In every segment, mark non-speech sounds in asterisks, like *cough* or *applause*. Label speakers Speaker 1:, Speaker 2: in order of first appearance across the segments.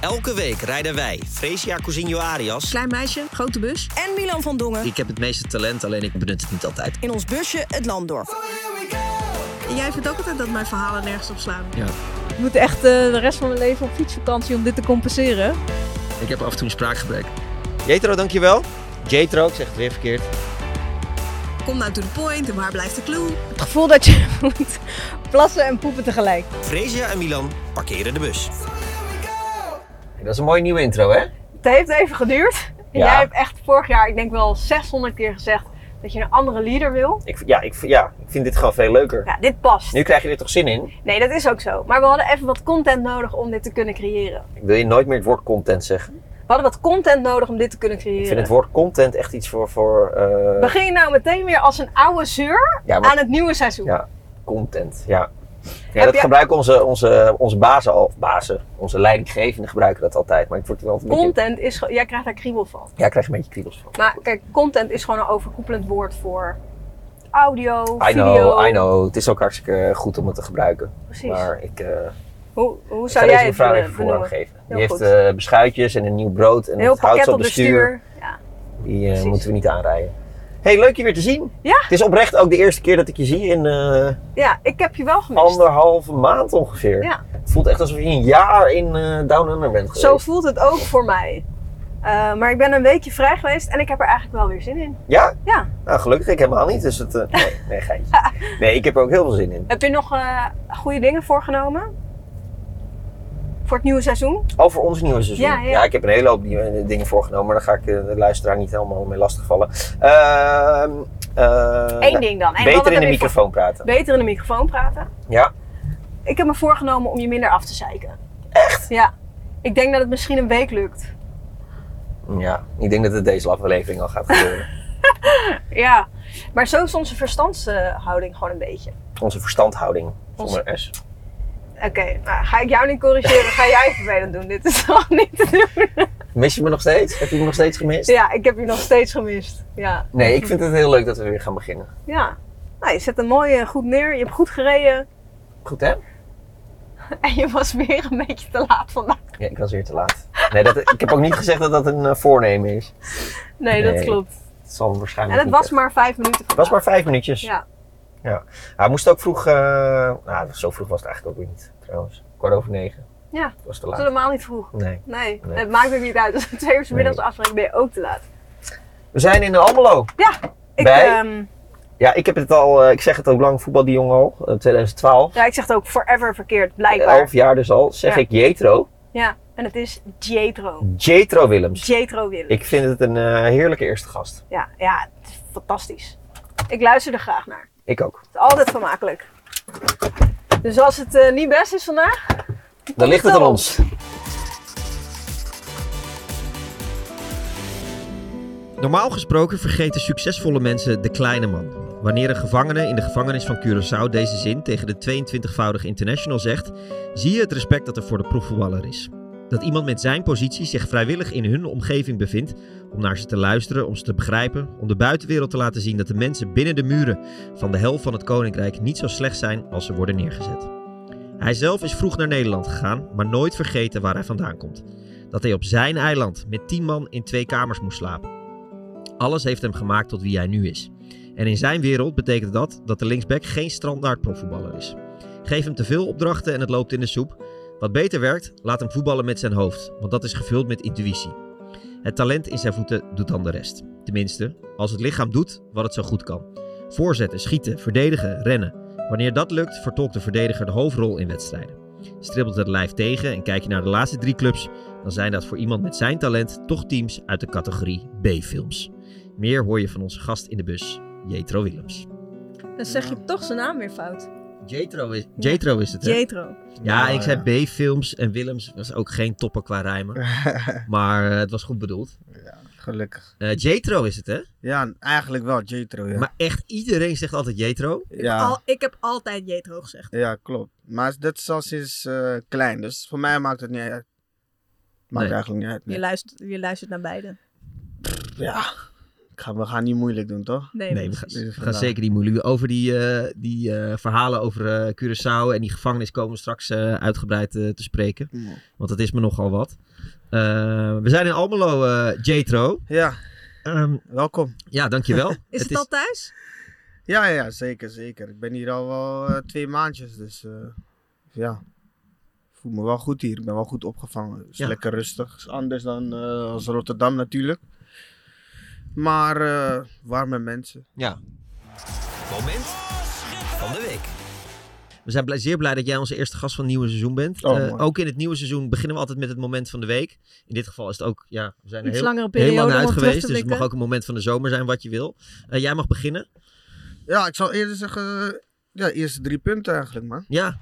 Speaker 1: Elke week rijden wij Fresia Cousinho Arias.
Speaker 2: Klein meisje, grote bus.
Speaker 3: en Milan van Dongen
Speaker 1: Ik heb het meeste talent, alleen ik benut het niet altijd.
Speaker 3: in ons busje het land door.
Speaker 2: En jij vindt ook altijd dat mijn verhalen nergens op slaan.
Speaker 1: Ja.
Speaker 4: Ik moet echt eh, de rest van mijn leven op fietsvakantie om dit te compenseren.
Speaker 1: Ik heb af en toe een spraakgebrek. Jetro, dankjewel. Jetro, ik zeg het weer verkeerd.
Speaker 2: Kom nou to the point en waar blijft de clue?
Speaker 4: Het gevoel dat je *laughs* moet plassen en poepen tegelijk.
Speaker 1: Fresia en Milan parkeren de bus. Dat is een mooie nieuwe intro, hè?
Speaker 4: Het heeft even geduurd. En
Speaker 1: Ja.
Speaker 4: Jij hebt echt vorig jaar, ik denk wel 600 keer gezegd dat je een andere leader wil.
Speaker 1: Ik, ja, ik, ja, ik vind dit gewoon veel leuker.
Speaker 4: Ja, dit past.
Speaker 1: Nu krijg je er toch zin in?
Speaker 4: Nee, dat is ook zo. Maar we hadden even wat content nodig om dit te kunnen creëren.
Speaker 1: Ik wil je nooit meer het woord content zeggen.
Speaker 4: We hadden wat content nodig om dit te kunnen
Speaker 1: Ik
Speaker 4: creëren.
Speaker 1: vind het woord content echt iets voor... voor eh,
Speaker 4: Begin je nou meteen weer als een oude zeur
Speaker 1: ja, maar
Speaker 4: aan het nieuwe seizoen.
Speaker 1: Ja. content, ja. Ja,
Speaker 4: Heb
Speaker 1: dat
Speaker 4: je-
Speaker 1: gebruiken onze, onze, onze bazen al. of Bazen, onze leidinggevenden gebruiken dat altijd. Maar ik word er altijd een beetje...
Speaker 4: Content is, ge- jij krijgt daar kriebel van.
Speaker 1: Ja, ik krijg een beetje kriebels van.
Speaker 4: Maar kijk, content is gewoon een overkoepelend woord voor audio,
Speaker 1: I
Speaker 4: video.
Speaker 1: know, I know. Het is ook hartstikke goed om het te gebruiken.
Speaker 4: Precies.
Speaker 1: Maar ik, eh,
Speaker 4: Hoe, hoe
Speaker 1: ik ga
Speaker 4: zou
Speaker 1: deze
Speaker 4: jij het
Speaker 1: mevrouw
Speaker 4: willen
Speaker 1: even voorrang
Speaker 4: benoemen?
Speaker 1: geven. Die
Speaker 4: Heel
Speaker 1: heeft
Speaker 4: goed.
Speaker 1: eh, beschuitjes en een nieuw brood en
Speaker 4: Een heel
Speaker 1: het hout
Speaker 4: pakket
Speaker 1: op,
Speaker 4: op de stuur. Ja.
Speaker 1: Die eh,
Speaker 4: Precies.
Speaker 1: moeten we niet aanrijden. hey, leuk je weer te zien.
Speaker 4: Ja.
Speaker 1: Het is oprecht ook de eerste keer dat ik je zie in eh,
Speaker 4: ja, ik heb je wel gemist.
Speaker 1: anderhalve maand ongeveer.
Speaker 4: Ja.
Speaker 1: Het voelt echt alsof je een jaar in eh Down Under bent geweest.
Speaker 4: Zo voelt het ook voor mij. Eh, maar ik ben een weekje vrij geweest en ik heb er eigenlijk wel weer zin in.
Speaker 1: Ja?
Speaker 4: Ja.
Speaker 1: Nou, gelukkig ik helemaal niet. Dus het, eh,
Speaker 4: *laughs*
Speaker 1: nee, nee, geintje. Nee, ik heb er ook heel veel zin in.
Speaker 4: Heb je nog eh, goede dingen voorgenomen? Voor het nieuwe seizoen?
Speaker 1: Over ons nieuwe seizoen.
Speaker 4: Ja, ja.
Speaker 1: ik heb een hele hoop nieuwe eh, dingen voorgenomen. Maar daar ga ik eh, de luisteraar niet helemaal mee lastigvallen. Ehm eh,
Speaker 4: Eén
Speaker 1: nou,
Speaker 4: ding dan. En wat
Speaker 1: Beter in
Speaker 4: heb
Speaker 1: de
Speaker 4: je voor-
Speaker 1: microfoon praten.
Speaker 4: Beter in de microfoon praten.
Speaker 1: Ja.
Speaker 4: Ik heb me voorgenomen om je minder af te zeiken. Echt? Ja. Ik denk dat het misschien een week lukt.
Speaker 1: Ja, ik denk dat het deze aflevering al gaat
Speaker 4: *laughs*
Speaker 1: gebeuren.
Speaker 4: Ja. Maar zo is onze verstandshouding gewoon een beetje.
Speaker 1: Onze verstandhouding. Zonder S.
Speaker 4: Oké, nou, ga ik jou niet corrigeren, ga jij vervelend doen. Dit is *laughs* gewoon niet te doen.
Speaker 1: Mis je me nog steeds? Heb je me nog steeds gemist?
Speaker 4: Ja, ik heb je nog steeds gemist. Ja.
Speaker 1: Nee, ik vind het heel leuk dat we weer gaan beginnen.
Speaker 4: ja. Nou, je zet hem mooi eh, goed neer, je hebt goed gereden
Speaker 1: Goed hè?
Speaker 4: *laughs* en je was weer een beetje te laat vandaag.
Speaker 1: Ja, ik was weer te laat. Nee, dat, ik heb ook niet gezegd dat dat een eh, voornemen is.
Speaker 4: Nee,
Speaker 1: Nee.
Speaker 4: dat klopt.
Speaker 1: Het zal waarschijnlijk
Speaker 4: En het
Speaker 1: niet eh,
Speaker 4: was maar vijf minuten
Speaker 1: Het was maar
Speaker 4: vandaag.
Speaker 1: vijf minuutjes. Ja.
Speaker 4: Ja.
Speaker 1: Hij moest ook vroeg... eh, nou, zo vroeg was het eigenlijk ook weer niet, trouwens. Kwart over negen.
Speaker 4: Ja.
Speaker 1: Het was te
Speaker 4: Dat
Speaker 1: laat.
Speaker 4: is helemaal niet vroeg.
Speaker 1: Nee.
Speaker 4: Nee,
Speaker 1: Nee.
Speaker 4: het maakt ook niet uit. Als het twee uur 's middags afspraak ben je ook te laat.
Speaker 1: We zijn in Almelo.
Speaker 4: Ja, ik,
Speaker 1: Bij?
Speaker 4: ehm,
Speaker 1: Ja, ik heb het al... eh, ik zeg het ook lang, voetbal die jongen al. eh, 2012.
Speaker 4: ja, ik zeg het ook forever verkeerd, blijkbaar.
Speaker 1: Elf jaar dus al. Zeg
Speaker 4: Ja.
Speaker 1: ik Jetro.
Speaker 4: Ja, en het is Jetro.
Speaker 1: Jetro Willems.
Speaker 4: Jetro Willem.
Speaker 1: Mm. Ik vind het een eh, heerlijke eerste gast.
Speaker 4: Ja, ja, het is fantastisch. Ik luister er graag naar.
Speaker 1: Ik ook.
Speaker 4: Het is altijd vermakelijk. Dus als het eh, niet best is vandaag,
Speaker 1: Dan ligt het aan ons. Normaal gesproken vergeten succesvolle mensen de kleine man. Wanneer een gevangene in de gevangenis van Curaçao deze zin tegen de 22-voudige international zegt, zie je het respect dat er voor de proefvoetballer is. Dat iemand met zijn positie zich vrijwillig in hun omgeving bevindt om naar ze te luisteren, om ze te begrijpen, om de buitenwereld te laten zien dat de mensen binnen de muren van de hel van het koninkrijk niet zo slecht zijn als ze worden neergezet. Hij zelf is vroeg naar Nederland gegaan, maar nooit vergeten waar hij vandaan komt. Dat hij op zijn eiland met tien man in twee kamers moest slapen. Alles heeft hem gemaakt tot wie hij nu is. En in zijn wereld betekent dat dat de linksback geen standaard profvoetballer is. Geef hem te veel opdrachten en het loopt in de soep. Wat beter werkt, laat hem voetballen met zijn hoofd, want dat is gevuld met intuïtie. Het talent in zijn voeten doet dan de rest. Tenminste, als het lichaam doet wat het zo goed kan. Voorzetten, schieten, verdedigen, rennen. Wanneer dat lukt, vertolkt de verdediger de hoofdrol in wedstrijden. Stribbelt het lijf tegen en kijk je naar de laatste drie clubs, dan zijn dat voor iemand met zijn talent toch teams uit de categorie B-films. Meer hoor je van onze gast in de bus, Jetro Willems.
Speaker 4: dan zeg je toch zijn naam weer fout.
Speaker 1: Jetro is, Jetro is het, hè?
Speaker 4: Jetro.
Speaker 1: ja,
Speaker 5: Nou,
Speaker 1: ik zei
Speaker 5: ja.
Speaker 1: B-films en Willems was ook geen topper qua rijmen, maar eh, het was goed bedoeld.
Speaker 5: ja, *laughs* gelukkig.
Speaker 1: Eh Jetro is het, hè?
Speaker 5: Ja, eigenlijk wel, Jetro. Ja.
Speaker 1: Maar echt iedereen zegt altijd Jetro.
Speaker 5: ja.
Speaker 2: Al, ik heb altijd Jetro gezegd.
Speaker 5: ja, klopt. Maar dat is al sinds eh, klein, dus voor mij maakt het niet uit. Maakt
Speaker 1: Nee.
Speaker 5: eigenlijk niet uit. nee.
Speaker 2: Je luistert, je luistert naar beide.
Speaker 5: Ja, Ik ga- we gaan niet moeilijk doen, toch?
Speaker 1: Nee, we gaan,
Speaker 5: precies.
Speaker 1: we gaan
Speaker 5: Vandaar.
Speaker 1: zeker niet moeilijk. Over die, eh, die eh, verhalen over eh, Curaçao en die gevangenis komen we straks eh, uitgebreid eh, te spreken. Want dat is me nogal wat. Eh, we zijn in Almelo, eh Jetro.
Speaker 5: Ja,
Speaker 1: Ehm,
Speaker 5: welkom.
Speaker 1: ja,
Speaker 6: *laughs*
Speaker 1: dankjewel.
Speaker 2: Is het, al thuis?
Speaker 5: Ja, ja, zeker, zeker. Ik ben hier al wel eh, twee maandjes, dus eh, ja. Ik voel me wel goed hier. Ik ben wel goed opgevangen. Het is
Speaker 1: Ja.
Speaker 5: lekker rustig. Is anders dan eh, als Rotterdam natuurlijk. Maar eh, warme mensen.
Speaker 1: Ja. Moment van de week. We zijn blij- zeer blij dat jij onze eerste gast van het nieuwe seizoen bent.
Speaker 5: Oh,
Speaker 1: Eh,
Speaker 5: mooi.
Speaker 1: ook in het nieuwe seizoen beginnen we altijd met het moment van de week. In dit geval is het ook, ja, we zijn er
Speaker 6: Iets
Speaker 1: heel,
Speaker 6: langere
Speaker 1: heel
Speaker 6: periode
Speaker 1: lang
Speaker 6: om
Speaker 1: uit
Speaker 6: op terug te
Speaker 1: geweest. Dus het mag
Speaker 6: blikken.
Speaker 1: ook een moment van de zomer zijn, wat je wil. Eh, jij mag beginnen.
Speaker 5: Ja, ik zal eerder zeggen, eh, ja, eerste drie punten eigenlijk, man.
Speaker 1: Ja,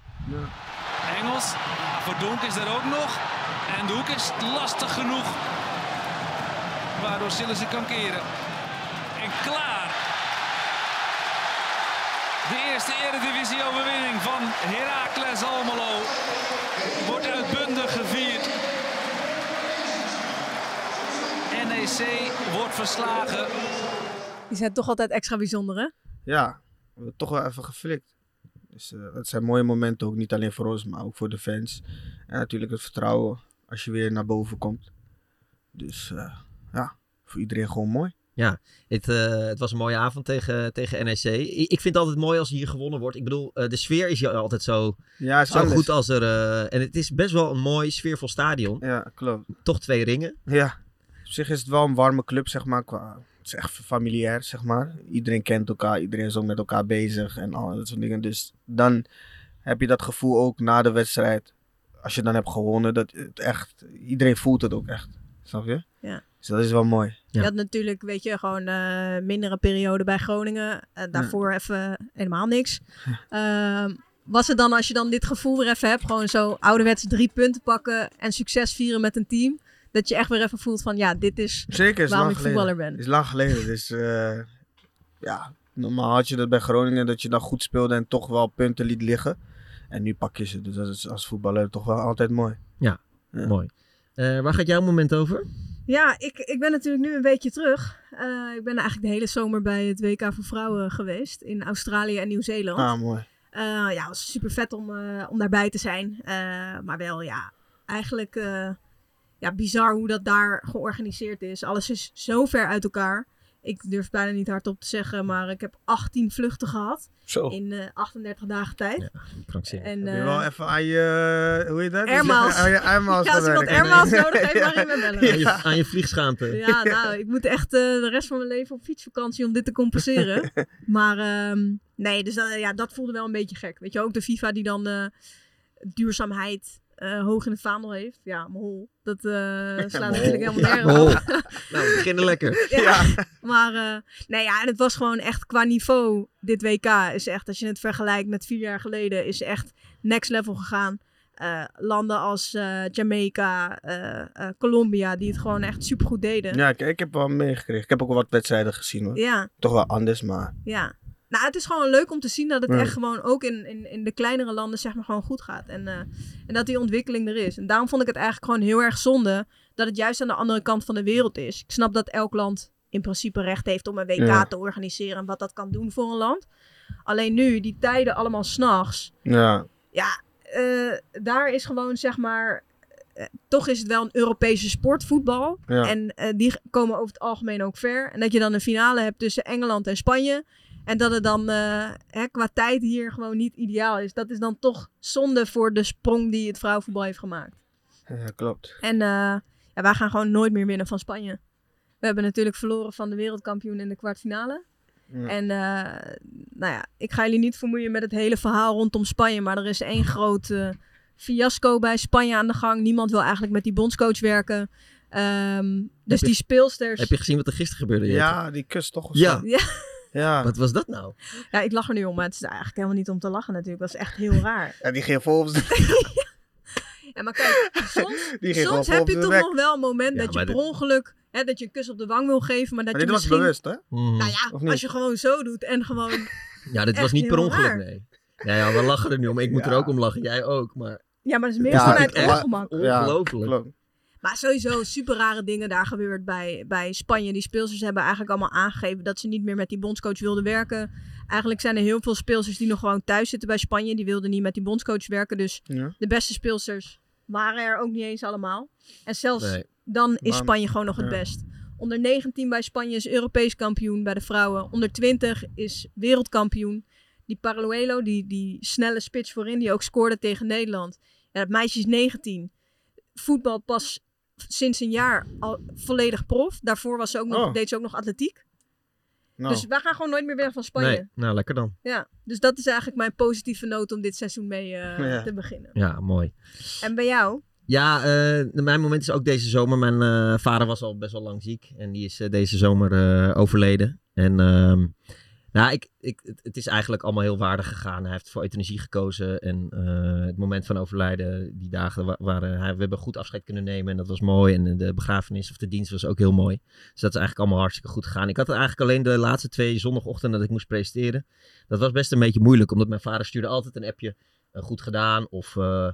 Speaker 7: Engels. Voor Donk is er ook nog. En de hoek is lastig genoeg. Waardoor Sillissen kan keren. En klaar. De eerste Eredivisie-overwinning van Heracles Almelo wordt uitbundig gevierd. NEC E wordt verslagen.
Speaker 6: Die zijn toch altijd extra bijzonder, hè?
Speaker 5: Ja, we hebben toch wel even geflikt. Dus eh, het zijn mooie momenten ook, niet alleen voor ons, maar ook voor de fans. En natuurlijk het vertrouwen als je weer naar boven komt. Dus eh, ja, voor iedereen gewoon mooi.
Speaker 1: Het, eh, het was een mooie avond tegen, tegen NEC. I- Ik vind het altijd mooi als hier gewonnen wordt. Ik bedoel, eh, de sfeer is hier altijd zo,
Speaker 5: Ja, is
Speaker 1: zo
Speaker 5: anders.
Speaker 1: goed als er... eh, en het is best wel een mooi, sfeervol stadion.
Speaker 5: Ja, klopt.
Speaker 1: Toch twee ringen.
Speaker 5: Ja, op zich is het wel een warme club, zeg maar. Qua, het is echt familiair, zeg maar. Iedereen kent elkaar, iedereen is ook met elkaar bezig en al dat soort dingen. Dus dan heb je dat gevoel ook na de wedstrijd. Als je dan hebt gewonnen, dat het echt, iedereen voelt het ook echt. Snap je?
Speaker 4: Ja.
Speaker 5: Dus dat is wel mooi.
Speaker 1: Ja.
Speaker 4: Je had natuurlijk, weet je, gewoon eh, mindere periode bij Groningen. Eh, daarvoor even helemaal niks. Ehm, was het dan, als je dan dit gevoel weer even hebt, gewoon zo ouderwets drie punten pakken en succes vieren met een team. Dat je echt weer even voelt van, ja, dit is
Speaker 5: Zeker, is
Speaker 4: waarom
Speaker 5: lang
Speaker 4: ik
Speaker 5: geleden.
Speaker 4: voetballer ben.
Speaker 5: is lang geleden, dus eh, ja, normaal had je dat bij Groningen, dat je dan goed speelde en toch wel punten liet liggen. En nu pak je ze, dus dat is als voetballer toch wel altijd mooi. Ja.
Speaker 1: Mooi. Eh, waar gaat jouw moment over?
Speaker 4: Ja, ik, ik ben natuurlijk nu een beetje terug. Eh, ik ben eigenlijk de hele zomer bij het WK voor Vrouwen geweest in Australië en Nieuw-Zeeland.
Speaker 5: Ah, mooi.
Speaker 4: Eh, ja, het was super vet om, eh, om daarbij te zijn. Eh, maar wel, ja, eigenlijk eh, ja, bizar hoe dat daar georganiseerd is. Alles is zo ver uit elkaar. Ik durf bijna niet hardop te zeggen, maar ik heb 18 vluchten gehad
Speaker 5: Zo.
Speaker 4: in eh, 38 dagen tijd.
Speaker 1: Krankzinnig.
Speaker 4: En,
Speaker 5: Heb je
Speaker 4: eh,
Speaker 5: wel even aan je, eh, hoe heet dat?
Speaker 4: Airmaals.
Speaker 5: Aan je
Speaker 4: *laughs*
Speaker 5: airmaals
Speaker 4: ja, als iemand
Speaker 5: gewerkt.
Speaker 4: airmaals nodig heeft, mag je me bellen.
Speaker 1: Aan, je, aan je vliegschaamte.
Speaker 4: Ja, nou, ik moet echt eh, de rest van mijn leven op fietsvakantie om dit te compenseren. maar ehm, nee, dus dat, ja, dat voelde wel een beetje gek. Weet je, ook de FIFA die dan eh, duurzaamheid eh, hoog in het vaandel heeft. Ja, mol. Dat eh, slaat natuurlijk helemaal nergens op.
Speaker 1: Oh. Nou, we beginnen lekker.
Speaker 4: Ja. Maar eh, nee, ja, en het was gewoon echt qua niveau. Dit WK is echt, als je het vergelijkt met vier jaar geleden, is echt next level gegaan. Eh, landen als eh, Jamaica, eh, eh, Colombia, die het gewoon echt supergoed deden.
Speaker 5: Ja, ik, ik heb wel meegekregen. Ik heb ook wat wedstrijden gezien hoor.
Speaker 4: ja.
Speaker 5: Toch wel anders, maar
Speaker 4: Ja. Nou, het is gewoon leuk om te zien dat het
Speaker 5: Ja.
Speaker 4: echt gewoon ook in, in, in de kleinere landen zeg maar gewoon goed gaat. En, eh, en dat die ontwikkeling er is. En daarom vond ik het eigenlijk gewoon heel erg zonde dat het juist aan de andere kant van de wereld is. Ik snap dat elk land in principe recht heeft om een WK
Speaker 5: Ja.
Speaker 4: te organiseren en wat dat kan doen voor een land. Alleen nu, die tijden allemaal s'nachts
Speaker 5: ja.
Speaker 4: ja, eh, daar is gewoon zeg maar. eh, toch is het wel een Europese sport, voetbal.
Speaker 5: Ja.
Speaker 4: En eh, die komen over het algemeen ook ver. En dat je dan een finale hebt tussen Engeland en Spanje. En dat het dan eh, hè, qua tijd hier gewoon niet ideaal is. Dat is dan toch zonde voor de sprong die het vrouwenvoetbal heeft gemaakt.
Speaker 5: ja, klopt.
Speaker 4: En eh, ja, wij gaan gewoon nooit meer winnen van Spanje. We hebben natuurlijk verloren van de wereldkampioen in de kwartfinale.
Speaker 5: Ja.
Speaker 4: En eh, nou ja, ik ga jullie niet vermoeien met het hele verhaal rondom Spanje. Maar er is
Speaker 5: *laughs*
Speaker 4: één groot eh, fiasco bij Spanje aan de gang. Niemand wil eigenlijk met die bondscoach werken. Ehm, dus
Speaker 1: je-
Speaker 4: die speelsters...
Speaker 1: Heb je gezien wat er gisteren gebeurde? Jelte?
Speaker 5: Ja, die kust toch? of
Speaker 1: Ja.
Speaker 5: zo?
Speaker 4: Ja.
Speaker 5: ja.
Speaker 1: Wat was dat nou?
Speaker 4: Ja, ik lach er nu om, maar het is eigenlijk helemaal niet om te lachen natuurlijk. Dat is echt heel
Speaker 5: *laughs*
Speaker 4: raar.
Speaker 5: Ja, die ging volgens
Speaker 4: Ja, maar kijk, soms,
Speaker 5: Die ging
Speaker 4: soms heb
Speaker 5: gewoon vol
Speaker 4: je
Speaker 5: op de
Speaker 4: toch
Speaker 5: bek.
Speaker 4: nog wel een moment
Speaker 1: Ja,
Speaker 4: dat je
Speaker 1: maar
Speaker 4: per
Speaker 1: dit-
Speaker 4: ongeluk... Hè, dat je een kus op de wang wil geven, maar dat
Speaker 5: Maar
Speaker 4: je
Speaker 5: dit was
Speaker 4: misschien...
Speaker 5: bewust, hè?
Speaker 1: Hmm.
Speaker 4: Nou
Speaker 5: Of
Speaker 4: ja,
Speaker 5: niet?
Speaker 4: als je gewoon zo doet en gewoon...
Speaker 1: ja, dit was
Speaker 4: echt
Speaker 1: niet per
Speaker 4: heel
Speaker 1: ongeluk,
Speaker 4: raar.
Speaker 1: nee. Ja, ja, we lachen er nu om. Ik moet
Speaker 5: Ja.
Speaker 1: er ook om lachen. Jij ook, maar
Speaker 4: Ja, maar dat is meer
Speaker 5: Ja,
Speaker 4: vanuit
Speaker 5: ik- ja.
Speaker 4: ongemak.
Speaker 5: Ja,
Speaker 1: ongelooflijk.
Speaker 5: Klopt.
Speaker 4: Maar sowieso super rare dingen daar gebeurd bij, bij Spanje. Die speelsters hebben eigenlijk allemaal aangegeven dat ze niet meer met die bondscoach wilden werken. Eigenlijk zijn er heel veel speelsters die nog gewoon thuis zitten bij Spanje. Die wilden niet met die bondscoach werken. Dus
Speaker 5: Ja.
Speaker 4: de beste speelsters waren er ook niet eens allemaal. En zelfs
Speaker 1: Nee.
Speaker 4: dan is
Speaker 5: Maar-
Speaker 4: Spanje gewoon nog het
Speaker 5: ja.
Speaker 4: best. Onder 19 bij Spanje is Europees kampioen bij de vrouwen. Onder 20 is wereldkampioen. Die Paraluelo, die, die snelle spits voorin, die ook scoorde tegen Nederland. Ja, dat meisje is 19. Voetbal pas sinds een jaar al volledig prof. Daarvoor was ze ook nog,
Speaker 5: Oh.
Speaker 4: deed ze ook nog atletiek.
Speaker 5: Nou,
Speaker 4: Dus wij gaan gewoon nooit meer weg van Spanje.
Speaker 1: Nee, nou lekker dan.
Speaker 4: Ja. Dus dat is eigenlijk mijn positieve noot om dit seizoen mee eh,
Speaker 5: Ja.
Speaker 4: te beginnen.
Speaker 1: Ja, mooi.
Speaker 4: En bij jou?
Speaker 1: Ja, eh, mijn moment is ook deze zomer. Mijn eh, vader was al best wel lang ziek en die is eh, deze zomer eh, overleden. En ehm, nou, ik, ik, het, het is eigenlijk allemaal heel waardig gegaan. Hij heeft voor euthanasie gekozen en eh, het moment van overlijden, die dagen wa- waren, hij, we hebben goed afscheid kunnen nemen en dat was mooi. En de begrafenis of de dienst was ook heel mooi. Dus dat is eigenlijk allemaal hartstikke goed gegaan. Ik had eigenlijk alleen de laatste twee zondagochtenden dat ik moest presteren. Dat was best een beetje moeilijk, omdat mijn vader stuurde altijd een appje, eh, goed gedaan of... eh,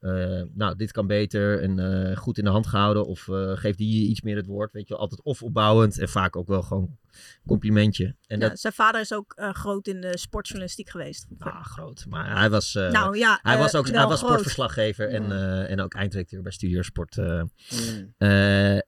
Speaker 1: eh, nou, dit kan beter en eh, goed in de hand gehouden. Of eh geef die iets meer het woord. Weet je, wel. altijd of opbouwend en vaak ook wel gewoon complimentje. En
Speaker 4: Ja,
Speaker 1: dat,
Speaker 4: Zijn vader is ook eh, groot in de sportjournalistiek geweest. vroeger.
Speaker 1: nou, groot. Maar hij was, eh,
Speaker 4: nou ja,
Speaker 1: hij
Speaker 4: eh,
Speaker 1: was ook
Speaker 4: wel
Speaker 1: hij was
Speaker 4: groot.
Speaker 1: sportverslaggever en, eh, en ook eindredacteur bij Studiosport. eh
Speaker 5: mm.
Speaker 1: eh,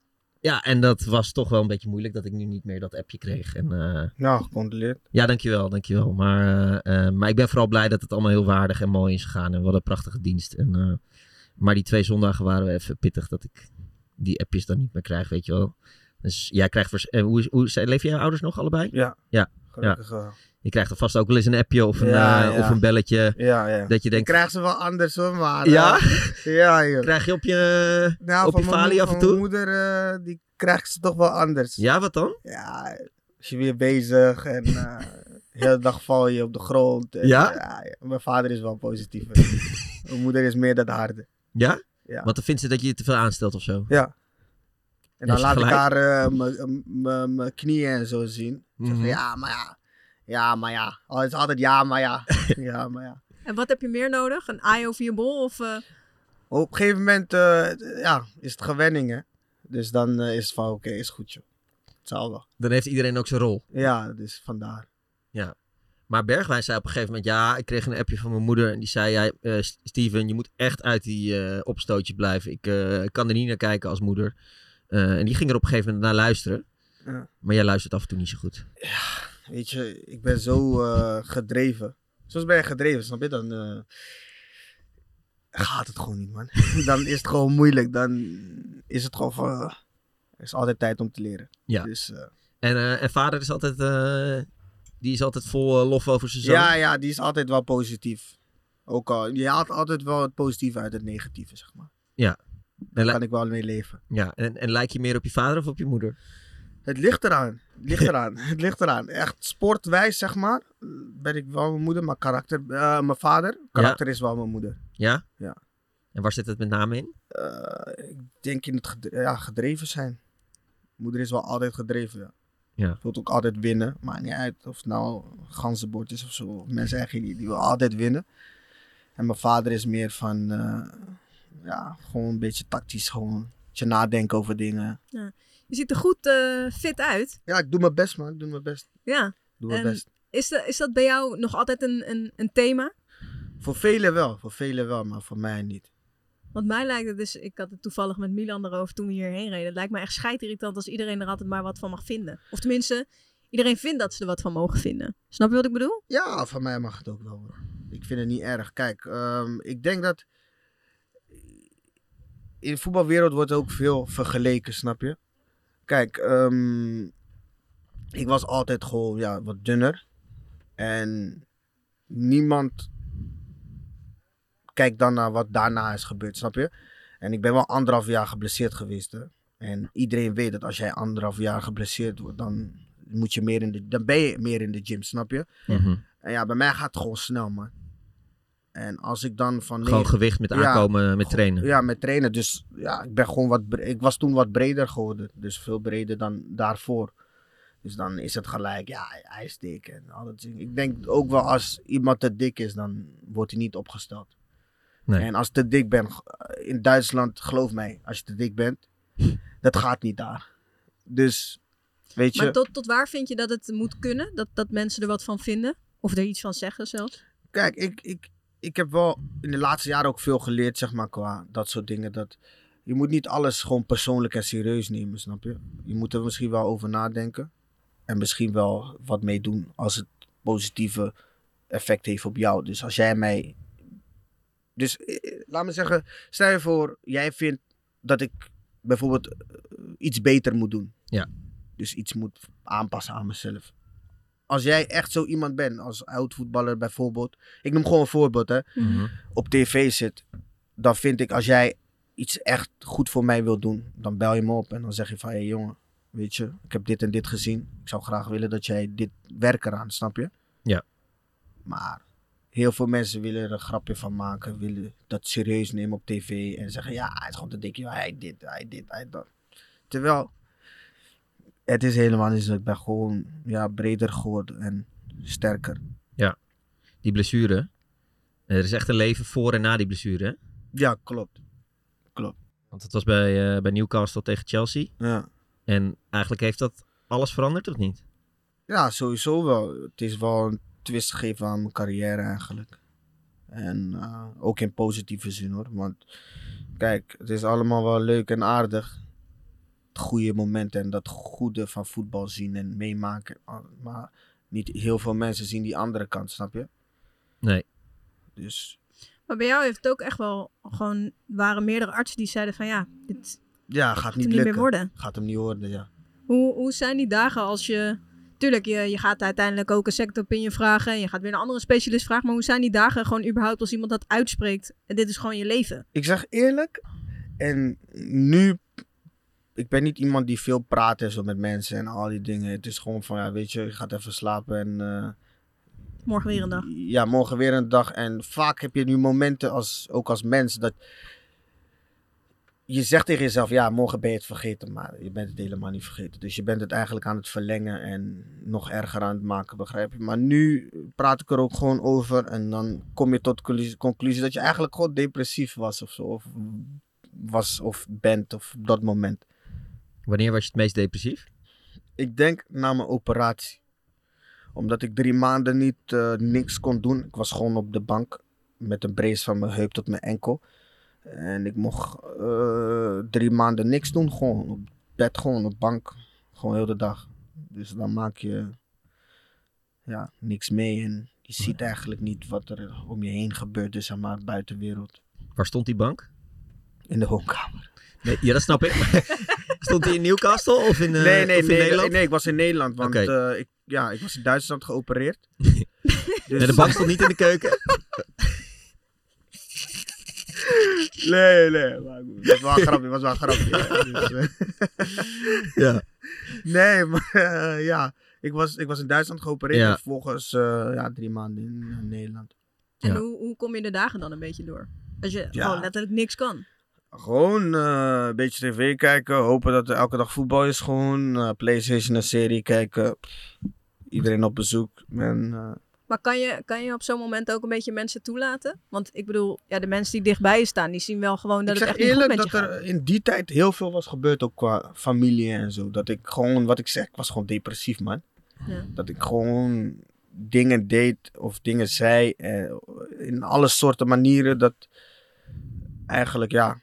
Speaker 1: ja, en dat was toch wel een beetje moeilijk dat ik nu niet meer dat appje kreeg. En, eh,
Speaker 5: Nou, gecondoleerd.
Speaker 1: ja, dankjewel, dankjewel. Maar, eh, eh, maar ik ben vooral blij dat het allemaal heel waardig en mooi is gegaan. En wat een prachtige dienst. En, eh, maar die twee zondagen waren we even pittig dat ik die appjes dan niet meer krijg, weet je wel. Dus jij krijgt... Vers- eh, hoe, is- hoe, zijn- leven jouw ouders nog allebei?
Speaker 5: Gelukkig wel.
Speaker 1: Je krijgt er vast ook wel eens een appje of een,
Speaker 5: Ja,
Speaker 1: eh,
Speaker 5: ja.
Speaker 1: Of een belletje.
Speaker 5: Ja, ja.
Speaker 1: Dat je
Speaker 5: Ik
Speaker 1: denkt...
Speaker 5: krijg ze wel anders hoor, maar...
Speaker 1: Ja?
Speaker 5: eh, ja, joh.
Speaker 1: Krijg je op je...
Speaker 5: Nou,
Speaker 1: op
Speaker 5: van
Speaker 1: je
Speaker 5: mijn
Speaker 1: falie
Speaker 5: moe-
Speaker 1: af en
Speaker 5: van
Speaker 1: toe?
Speaker 5: mijn moeder, eh, die krijgt ze toch wel anders.
Speaker 1: Ja, wat dan?
Speaker 5: Ja, is je weer bezig en eh de hele dag val je op de grond. En, eh,
Speaker 1: Ja?
Speaker 5: ja. Mijn vader is wel positief.
Speaker 1: *laughs*
Speaker 5: mijn moeder is meer dat harde.
Speaker 1: Ja?
Speaker 5: Ja.
Speaker 1: Want dan vindt ze dat je je te veel aanstelt of zo.
Speaker 5: En dan
Speaker 1: Heeft ze
Speaker 5: laat ik
Speaker 1: gelijk?
Speaker 5: haar eh, m- m- m- mijn knieën en zo zien. Zegt ze,
Speaker 1: Mhm.
Speaker 5: Ja, maar ja. Ja, maar ja. Oh, het is altijd ja,
Speaker 1: *laughs*
Speaker 5: maar ja. ja, maar ja.
Speaker 4: En wat heb je meer nodig? Een eye over je bol? Of, eh,
Speaker 5: Op een gegeven moment eh, ja, is het gewenning, hè. Dus dan eh, is het van, oké, is goed, joh. Het zal wel.
Speaker 1: Dan heeft iedereen ook zijn rol.
Speaker 5: Ja, dus vandaar.
Speaker 1: Maar Bergwijn zei op een gegeven moment, ja, ik kreeg een appje van mijn moeder en die zei, jij, eh, S- Steven, je moet echt uit die eh, opstootjes blijven. Ik eh, kan er niet naar kijken als moeder. Eh, en die ging er op een gegeven moment naar luisteren.
Speaker 5: Ja.
Speaker 1: Maar jij luistert af en toe niet zo goed.
Speaker 5: Weet je, ik ben zo eh, gedreven. Soms ben je gedreven, snap je? Dan eh, gaat het gewoon niet, man. *laughs* dan is het gewoon moeilijk. Dan is het gewoon van... eh, er is altijd tijd om te leren.
Speaker 1: Ja.
Speaker 5: Dus, eh,
Speaker 1: En, eh, en vader is altijd, eh, die is altijd vol eh, lof over zijn zoon.
Speaker 5: ja, ja, die is altijd wel positief. Ook al, je haalt altijd wel het positieve uit het negatieve, zeg maar.
Speaker 1: en,
Speaker 5: Daar
Speaker 1: li-
Speaker 5: kan ik wel mee leven.
Speaker 1: ja, en, en lijk je meer op je vader of op je moeder?
Speaker 5: Het ligt eraan. Het ligt eraan. het ligt eraan. Echt sportwijs, zeg maar, ben ik wel mijn moeder. Maar karakter, eh, mijn vader, karakter is wel mijn moeder.
Speaker 1: Ja?
Speaker 5: Ja.
Speaker 1: En waar zit het met name in?
Speaker 5: eh, ik denk in het ged- ja, gedreven zijn. Moeder is wel altijd gedreven, ja.
Speaker 1: Ja.
Speaker 5: Wilt ook altijd winnen. Maakt niet uit of het nou ganzenbord is of zo. Of mensen eigenlijk niet. Die wil altijd winnen. En mijn vader is meer van... eh, ja, gewoon een beetje tactisch. Gewoon een beetje nadenken over dingen.
Speaker 4: je ziet er goed eh, fit uit.
Speaker 5: Ja, ik doe mijn best, man. Ik doe mijn best.
Speaker 4: Ja.
Speaker 5: Ik doe mijn
Speaker 4: En-
Speaker 5: best.
Speaker 4: Is, de, is dat bij jou nog altijd een, een, een thema?
Speaker 5: Voor velen wel. Voor velen wel, maar voor mij niet.
Speaker 4: Want mij lijkt het dus, ik had het toevallig met Milan erover toen we hierheen reden. Het lijkt me echt scheidirritant als iedereen er altijd maar wat van mag vinden. Of tenminste, iedereen vindt dat ze er wat van mogen vinden. Snap je wat ik bedoel?
Speaker 5: Ja, van mij mag het ook wel. hoor. Ik vind het niet erg. Kijk, ehm, ik denk dat. In de voetbalwereld wordt ook veel vergeleken, snap je? Kijk, ehm, ik was altijd gewoon ja, wat dunner. En niemand kijkt dan naar wat daarna is gebeurd, snap je? En ik ben wel anderhalf jaar geblesseerd geweest. Hè? En iedereen weet dat als jij anderhalf jaar geblesseerd wordt, dan, moet je meer in de, dan ben je meer in de gym, snap je?
Speaker 1: Mhm.
Speaker 5: En ja, bij mij gaat het gewoon snel, man. En als ik dan van...
Speaker 1: Gewoon
Speaker 5: negen-
Speaker 1: gewicht met
Speaker 5: Ja.
Speaker 1: aankomen, met trainen.
Speaker 5: Ja, met trainen. Dus ja, ik ben gewoon wat... bre- Ik was toen wat breder geworden. Dus veel breder dan daarvoor. Dus dan is het gelijk, ja, hij is dik en al dat ding. Ik denk ook wel als iemand te dik is, dan wordt hij niet opgesteld.
Speaker 1: Nee.
Speaker 5: En als ik te dik ben, eh, in Duitsland, geloof mij, als je te dik
Speaker 1: *laughs*
Speaker 5: bent, dat gaat niet daar. Dus, weet je,
Speaker 4: Maar tot, tot waar vind je dat het moet kunnen? Dat, dat mensen er wat van vinden? Of er iets van zeggen zelfs?
Speaker 5: kijk, ik, ik, ik heb wel in de laatste jaren ook veel geleerd, zeg maar, qua dat soort dingen. Dat je moet niet alles gewoon persoonlijk en serieus nemen, snap je? Je moet er misschien wel over nadenken. En misschien wel wat mee doen als het positieve effect heeft op jou. Dus als jij mij. Dus eh, eh, laat me zeggen, stel je voor, jij vindt dat ik bijvoorbeeld eh, iets beter moet doen.
Speaker 1: Ja.
Speaker 5: Dus iets moet aanpassen aan mezelf. Als jij echt zo iemand bent, als oud-voetballer bijvoorbeeld. Ik noem gewoon een voorbeeld, hè
Speaker 1: Mhm.
Speaker 5: op tv zit, dan vind ik als jij iets echt goed voor mij wil doen, dan bel je me op en dan zeg je van, hé hey, jongen, weet je, ik heb dit en dit gezien. Ik zou graag willen dat jij dit werk eraan, snap je?
Speaker 1: Ja.
Speaker 5: Maar heel veel mensen willen er een grapje van maken, willen dat serieus nemen op tv en zeggen, ja, hij is gewoon te dik, joh, hij dit, hij dit, hij dat. Terwijl, het is helemaal niet zo, ik ben gewoon ja, breder geworden en sterker.
Speaker 1: Die blessure. Eh, Er is echt een leven voor en na die blessure. hè?
Speaker 5: Ja, klopt.
Speaker 1: Want het was bij, eh, bij Newcastle tegen Chelsea.
Speaker 5: Ja.
Speaker 1: En eigenlijk heeft dat alles veranderd, of niet?
Speaker 5: Ja, sowieso wel. Het is wel een twist gegeven aan mijn carrière eigenlijk. En eh, ook in positieve zin hoor. Want kijk, het is allemaal wel leuk en aardig. Het goede moment en dat goede van voetbal zien en meemaken. Ah, Maar niet heel veel mensen zien die andere kant, snap je?
Speaker 1: Nee.
Speaker 5: Dus
Speaker 4: Maar bij jou heeft het ook echt wel gewoon... waren meerdere artsen die zeiden van ja, dit gaat
Speaker 5: ja, gaat
Speaker 4: hem
Speaker 5: niet
Speaker 4: niet
Speaker 5: lukken.
Speaker 4: meer worden.
Speaker 5: Gaat hem niet worden, ja.
Speaker 4: Hoe, hoe zijn die dagen als je... Tuurlijk, je, je gaat uiteindelijk ook een second opinion vragen. En je gaat weer een andere specialist vragen. Maar hoe zijn die dagen gewoon überhaupt als iemand dat uitspreekt? En dit is gewoon je leven.
Speaker 5: Ik zeg eerlijk, en nu, ik ben niet iemand die veel praat en zo met mensen en al die dingen. Het is gewoon van, ja, weet je, je gaat even slapen en... eh,
Speaker 4: Morgen weer een dag.
Speaker 5: Ja, morgen weer een dag. En vaak heb je nu momenten, als, ook als mens, dat je zegt tegen jezelf, ja, morgen ben je het vergeten, maar je bent het helemaal niet vergeten. Dus je bent het eigenlijk aan het verlengen en nog erger aan het maken, begrijp je? Maar nu praat ik er ook gewoon over en dan kom je tot conclusie, conclusie dat je eigenlijk gewoon depressief was of zo. Of was of bent of op dat moment.
Speaker 1: Wanneer was je het meest depressief?
Speaker 5: Ik denk na mijn operatie. Omdat ik drie maanden niet eh, niks kon doen. Ik was gewoon op de bank met een brace van mijn heup tot mijn enkel. En ik mocht eh, drie maanden niks doen. Gewoon op bed, gewoon op bank. Gewoon heel de dag. Dus dan maak je ja, niks mee. En je ziet eigenlijk niet wat er om je heen gebeurt. Dus zeg maar buitenwereld.
Speaker 1: Waar stond die bank?
Speaker 5: In de woonkamer.
Speaker 1: Nee, ja, dat snap ik. *laughs* stond die in Newcastle of in, eh,
Speaker 5: nee, nee,
Speaker 1: of in
Speaker 5: nee,
Speaker 1: Nederland?
Speaker 5: nee, ik was in Nederland. Want
Speaker 1: Oké.
Speaker 5: eh, ik, ja, ik was in Duitsland *laughs* geopereerd. dus,
Speaker 1: En de bank stond niet in de
Speaker 5: *laughs*
Speaker 1: keuken.
Speaker 5: Nee, nee, maar goed. Dat was wel een grapje, was wel een *laughs* grapje. Dus, eh,
Speaker 1: ja.
Speaker 5: nee, maar eh, ja, ik was, ik was in Duitsland geopereerd
Speaker 1: Ja.
Speaker 5: en vervolgens eh, ja, drie maanden in eh, Nederland.
Speaker 4: En
Speaker 1: Ja.
Speaker 4: hoe, hoe kom je de dagen dan een beetje door? Als je
Speaker 5: Ja.
Speaker 4: gewoon letterlijk niks kan.
Speaker 5: Gewoon eh, een beetje tv kijken, hopen dat er elke dag voetbal is gewoon, eh, Playstation een serie kijken, Pff, iedereen op bezoek. En, eh,
Speaker 4: Maar kan je, kan je op zo'n moment ook een beetje mensen toelaten? Want ik bedoel, ja, de mensen die dichtbij je staan, die zien wel gewoon dat
Speaker 5: ik
Speaker 4: het
Speaker 5: zeg
Speaker 4: echt niet goed
Speaker 5: eerlijk
Speaker 4: met je
Speaker 5: dat
Speaker 4: gaat.
Speaker 5: er in die tijd heel veel was gebeurd, ook qua familie en zo. Dat ik gewoon, wat ik zeg, ik was gewoon depressief, man.
Speaker 4: Ja.
Speaker 5: Dat ik gewoon dingen deed of dingen zei eh, in alle soorten manieren dat eigenlijk, ja,